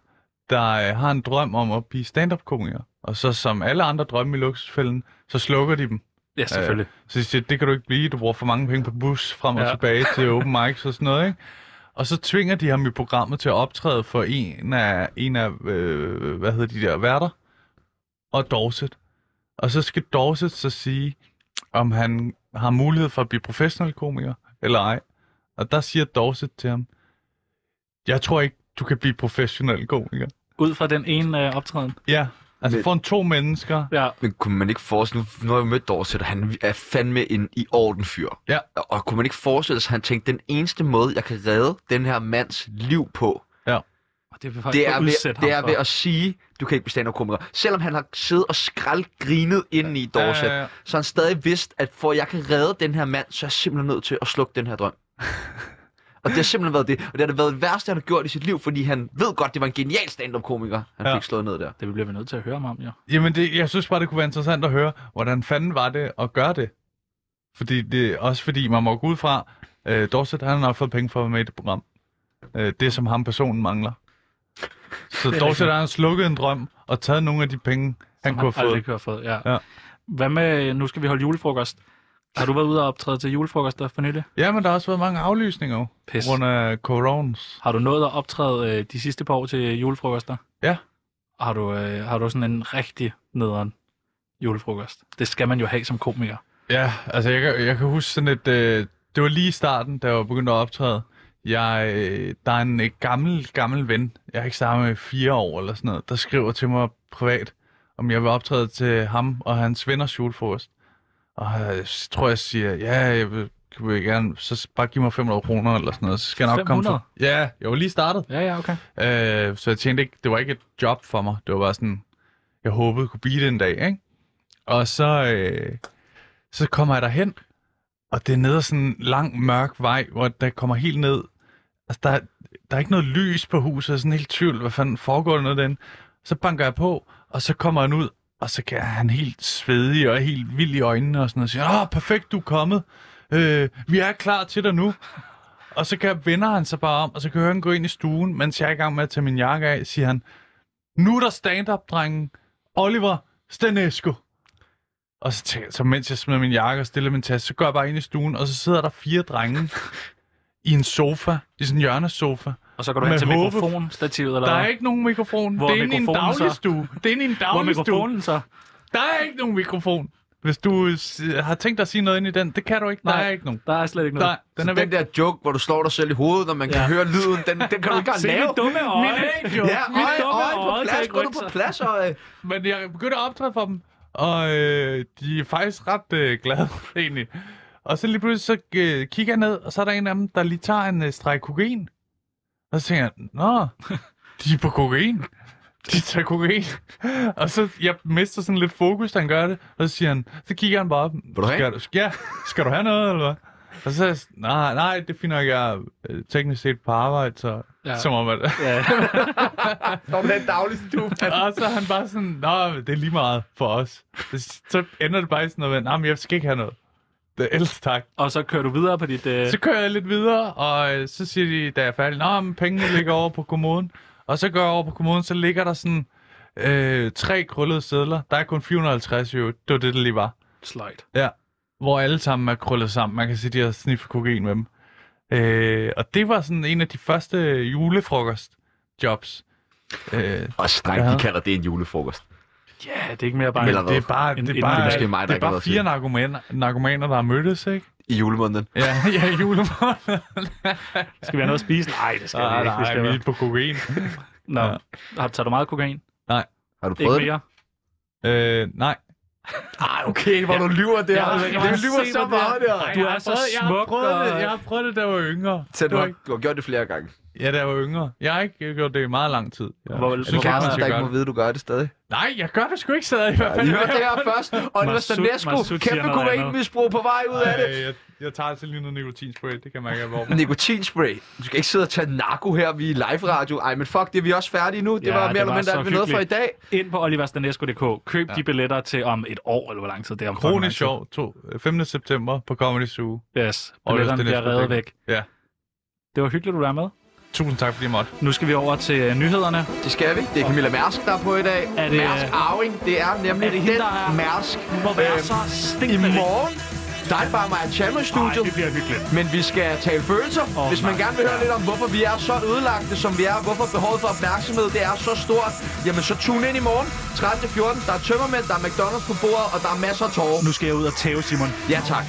Speaker 4: der øh, har en drøm om at blive stand-up-komiker. Og så som alle andre drømme i luksusfælden, så slukker de dem.
Speaker 2: Ja, selvfølgelig.
Speaker 4: Så de siger, det kan du ikke blive, du bruger for mange penge på bus frem og
Speaker 2: Ja.
Speaker 4: ja. tilbage til open mics og sådan noget, ikke? Og så tvinger de ham i programmet til at optræde for en af, en af øh, hvad hedder de der, værter og Dorset. Og så skal Dorset så sige, om han har mulighed for at blive professionel komiker eller ej. Og der siger Dorset til ham, jeg tror ikke, du kan blive professionel komiker.
Speaker 2: Ud fra den ene øh, optræden.
Speaker 4: Ja, altså
Speaker 3: Men-
Speaker 4: for en to mennesker,
Speaker 2: Ja.
Speaker 3: Men kunne man ikke forestille nu, nu har jeg mødt Dorset, og han er fandme en i orden fyr.
Speaker 4: Ja.
Speaker 3: Og, og kunne man ikke forestille sig, at han tænkte, den eneste måde, jeg kan redde den her mands liv på,
Speaker 2: Og Det, vil folk
Speaker 3: det
Speaker 2: få
Speaker 3: er, ved,
Speaker 2: udsat
Speaker 3: det
Speaker 2: ham
Speaker 3: er
Speaker 2: for.
Speaker 3: ved at sige, du kan ikke blive stand-up-komiker. Selvom han har siddet og skraldgrinet inde i Dorset,
Speaker 4: Ja, ja, ja.
Speaker 3: så han
Speaker 2: [LAUGHS]
Speaker 3: stadig vidste, at for at jeg kan redde den her mand, så er jeg simpelthen nødt til at slukke den her drøm. Og det har simpelthen været det. Og det har det været det værste, han har gjort i sit liv, fordi han ved godt, det var en genial stand-up-komiker, han
Speaker 4: Ja.
Speaker 3: ja. fik slået ned der.
Speaker 2: Det bliver vi nødt til at høre ham om, jo.
Speaker 4: Jamen, det, jeg synes bare, det kunne være interessant at høre, hvordan fanden var det at gøre det? Fordi det, også fordi man må gå ud fra, øh, Dorset, han har nok fået penge for at være med i det program. Øh, det, som ham personen mangler. Så Dorset, han har slukket en drøm og taget nogle af de penge, han
Speaker 2: Som
Speaker 4: kunne have fået.
Speaker 2: aldrig kunne have fået. Ja.
Speaker 4: Ja.
Speaker 2: ja. Hvad med, nu skal vi holde julefrokost. Har du været ude og optræde til julefrokoster for nylig?
Speaker 4: Ja, men der har også været mange aflysninger jo, på
Speaker 2: Pis.
Speaker 4: grund af coronas.
Speaker 2: Har du nået at optræde øh, de sidste par år til julefrokoster?
Speaker 4: Ja.
Speaker 2: Har du, øh, har du sådan en rigtig nederen julefrokost? Det skal man jo have som komiker.
Speaker 4: Ja, altså jeg, kan- jeg kan huske sådan et... Øh, det var lige i starten, da jeg var begyndt at optræde. Jeg, øh, der er en øh, gammel, gammel ven, jeg har ikke sammen med i fire år eller sådan noget, der skriver til mig privat, om jeg vil optræde til ham og hans venners julefrokost. Og jeg tror, jeg siger, ja, jeg vil, vil jeg gerne, så s- bare giv mig 500 kroner eller sådan noget, så skal jeg nok komme
Speaker 2: 500?
Speaker 4: for. Ja, jeg var lige startet.
Speaker 2: Ja, ja, okay.
Speaker 4: Øh, så jeg tjente ikke, det var ikke et job for mig. Det var bare sådan, jeg håbede kunne blive det en dag, ikke? Og så, øh, så kommer jeg derhen, og det er ned ad sådan en lang, mørk vej, hvor der kommer helt ned. Altså, der, er- der er ikke noget lys på huset, jeg er sådan helt i tvivl, hvad fanden foregår der noget den. Så banker jeg på, og så kommer han ud, og så kan han helt svedig og helt vild i øjnene og sådan noget, og siger, åh, perfekt, du er kommet. Øh, vi er klar til dig nu. Og så kan, vender han sig bare om, og så kan jeg høre han gå ind i stuen, mens jeg er i gang med at tage min jakke af, siger han, nu er der stand-up, drengen. Oliver Stanesco. Og så, tænker, jeg- så mens jeg smider min jakke og stiller min taske, så går jeg bare ind i stuen, og så sidder der fire drenge i en sofa, i sådan en hjørnesofa.
Speaker 2: Og så går du
Speaker 4: Med
Speaker 2: hen til
Speaker 4: håbe-
Speaker 2: mikrofonstativet, eller
Speaker 4: Der er
Speaker 2: hvad?
Speaker 4: ikke nogen mikrofon.
Speaker 2: Hvor er
Speaker 4: det er inde i en
Speaker 2: mikrofonen så?
Speaker 4: dagligstue. Det er inde i en
Speaker 2: Hvor er
Speaker 4: dagligstue.
Speaker 2: mikrofonen så?
Speaker 4: Der er ikke nogen mikrofon. Hvis du s- har tænkt dig at sige noget ind i den, det kan du ikke. Der
Speaker 2: Nej.
Speaker 4: er ikke nogen.
Speaker 2: Der er slet ikke noget.
Speaker 4: Der, den er
Speaker 3: den
Speaker 4: væk.
Speaker 3: der joke, hvor du slår dig selv i hovedet, og man kan
Speaker 2: Ja.
Speaker 3: høre lyden, den, den kan du ikke engang
Speaker 2: [LAUGHS] Se
Speaker 3: lave.
Speaker 2: mit dumme øje.
Speaker 3: Ja,
Speaker 2: mit
Speaker 3: øje,
Speaker 2: dumme
Speaker 3: øje, på
Speaker 2: øje kan
Speaker 3: plads,
Speaker 2: ikke
Speaker 3: gå nu
Speaker 2: rykke
Speaker 3: på
Speaker 2: sig.
Speaker 3: plads, og øh,
Speaker 4: Men jeg begyndte at optræde for dem, og øh, de er faktisk ret øh, glade, egentlig. Og så lige pludselig så øh, kigger jeg ned, og så er der en af dem, der lige tager en øh, streg kokain. Og så tænker jeg, nå, de er på kokain. De tager kokain. og så jeg mister sådan lidt fokus, da han gør det. Og så siger han, så kigger han bare op. Vil
Speaker 3: du have?
Speaker 4: Skal du, ja, skal du have noget, eller hvad? Og så er jeg sådan, nej, nej, det finder jeg er, øh, teknisk set på arbejde, så ja.
Speaker 2: Ja.
Speaker 4: som om, at,
Speaker 2: Ja.
Speaker 3: Står på den dagligstue.
Speaker 4: og så er han bare sådan, nå, men det er lige meget for os. Så- Så ender det bare i sådan noget, nej, men jeg skal ikke have noget. Det, ellers tak.
Speaker 2: Og så kører du videre på dit... Øh...
Speaker 4: Så kører jeg lidt videre, og øh, så siger de, da jeg er færdig, nå, men pengene ligger over på kommoden. Og så går jeg over på kommoden, så ligger der sådan øh, tre krøllede sædler. Der er kun 450 euro. Det var det, der lige var.
Speaker 2: Sløjt.
Speaker 4: Ja. Hvor alle sammen er krøllet sammen. Man kan sige, de har sniffet kokain med dem. Øh, og det var sådan en af de første julefrokostjobs. Øh,
Speaker 3: [LAUGHS] Og strengt,
Speaker 4: Ja.
Speaker 3: de kalder det en julefrokost.
Speaker 2: Ja, det er ikke mere bare...
Speaker 3: Eller
Speaker 2: Eller...
Speaker 3: hvad?
Speaker 4: Det er bare,
Speaker 2: En-
Speaker 4: det er
Speaker 2: en-
Speaker 4: bare,
Speaker 2: det er
Speaker 3: måske mig, der
Speaker 4: det er
Speaker 3: ikke har
Speaker 4: bare
Speaker 3: været til
Speaker 4: fire
Speaker 3: det.
Speaker 4: narkomaner, narkomaner, der har mødtes, ikke?
Speaker 3: I julemåneden.
Speaker 4: Ja, [LAUGHS] ja, i julemåneden.
Speaker 2: Skal vi have noget at spise? Ah, Nej, det skal vi
Speaker 4: Nej,
Speaker 2: ikke. Det
Speaker 4: nej,
Speaker 2: skal
Speaker 4: vi er
Speaker 2: vi.
Speaker 4: på kokain. Øh,
Speaker 2: Nå, har tager du meget kokain?
Speaker 3: Har du
Speaker 2: Ikke
Speaker 3: prøvet det?
Speaker 2: mere?
Speaker 4: øh, nej.
Speaker 3: Ej,
Speaker 2: Ah,
Speaker 3: okay, hvor du lyver der.
Speaker 2: Jeg- jeg-
Speaker 3: det
Speaker 2: jeg-
Speaker 3: lyver
Speaker 2: se,
Speaker 3: så
Speaker 2: hvor det er.
Speaker 3: meget der.
Speaker 2: Du er så
Speaker 4: jeg har
Speaker 2: smuk.
Speaker 4: prøvet det,
Speaker 2: og-
Speaker 4: jeg har prøvet det, da jeg var yngre.
Speaker 3: Så
Speaker 4: Det
Speaker 3: du
Speaker 4: var
Speaker 3: har,
Speaker 4: ikke-
Speaker 3: du har gjort det flere gange.
Speaker 4: Ja, da jeg var yngre. Jeg har ikke gjort det i meget lang tid. Ja.
Speaker 2: Hvor-
Speaker 4: Jeg synes
Speaker 2: hvor
Speaker 4: ikke,
Speaker 2: meget
Speaker 4: man
Speaker 2: er
Speaker 4: skal
Speaker 3: der ikke
Speaker 4: gøre
Speaker 3: må
Speaker 4: det.
Speaker 3: vide, du gør det stadig.
Speaker 4: Nej, jeg gør det sgu ikke, sad jeg i hvert
Speaker 3: I
Speaker 4: fald.
Speaker 3: hørte det her først. Og det var
Speaker 2: Masud-
Speaker 3: Stanesco.
Speaker 2: Masud siger
Speaker 3: Kæmpe
Speaker 2: noget
Speaker 3: kokainmisbrug på vej
Speaker 4: [LAUGHS]
Speaker 3: ud af det.
Speaker 4: Øh, jeg, jeg tager altså lige noget nikotinspray, det kan man ikke
Speaker 3: [LAUGHS]
Speaker 4: have hvor.
Speaker 3: Nikotinspray. Du skal ikke sidde og tage narko her, vi er live radio. Ej, men fuck, det er vi også færdige nu. Det
Speaker 2: Ja,
Speaker 3: var mere
Speaker 2: det
Speaker 3: eller
Speaker 2: var
Speaker 3: mindre
Speaker 2: så
Speaker 3: alt, vi nåede for i
Speaker 2: hyggeligt.
Speaker 3: dag.
Speaker 2: Ind på oliverstanesco.dk. Køb ja. de billetter til om et år, eller hvor lang tid det er. om fucking lang
Speaker 4: Krone
Speaker 2: tid.
Speaker 4: Show, to- 5. september på Comedy Zoo.
Speaker 2: Yes,
Speaker 4: Og
Speaker 2: billetterne
Speaker 4: Ørstenes
Speaker 2: bliver reddet
Speaker 4: Bodega.
Speaker 2: væk.
Speaker 4: Ja.
Speaker 2: Det var hyggeligt, at du var med.
Speaker 4: Tusind tak, fordi jeg måtte.
Speaker 2: Nu skal vi over til øh, nyhederne.
Speaker 3: Det skal vi. Det er Camilla Mærsk, der er på i dag.
Speaker 2: Er det- øh,
Speaker 3: Mærsk Arving, det er nemlig
Speaker 2: Er det hende,
Speaker 3: den
Speaker 2: der er-
Speaker 3: Mærsk. øh,
Speaker 2: Hun må være så
Speaker 3: I
Speaker 2: stinkende
Speaker 3: morgen, der er ikke bare mig Chandler i
Speaker 2: Nej,
Speaker 3: studiet.
Speaker 2: det bliver hyggeligt.
Speaker 3: Men vi skal tale følelser. Oh,
Speaker 2: Åh,
Speaker 3: Hvis man
Speaker 2: nej.
Speaker 3: gerne vil høre lidt om, hvorfor vi er så ødelagte, som vi er, hvorfor behovet for opmærksomhed det er så stort, jamen så tune ind i morgen 13-14. Der er tømmermænd, der er McDonald's på bordet, og der er masser af tårer.
Speaker 2: Nu skal jeg ud og tæve, Simon.
Speaker 3: Ja tak.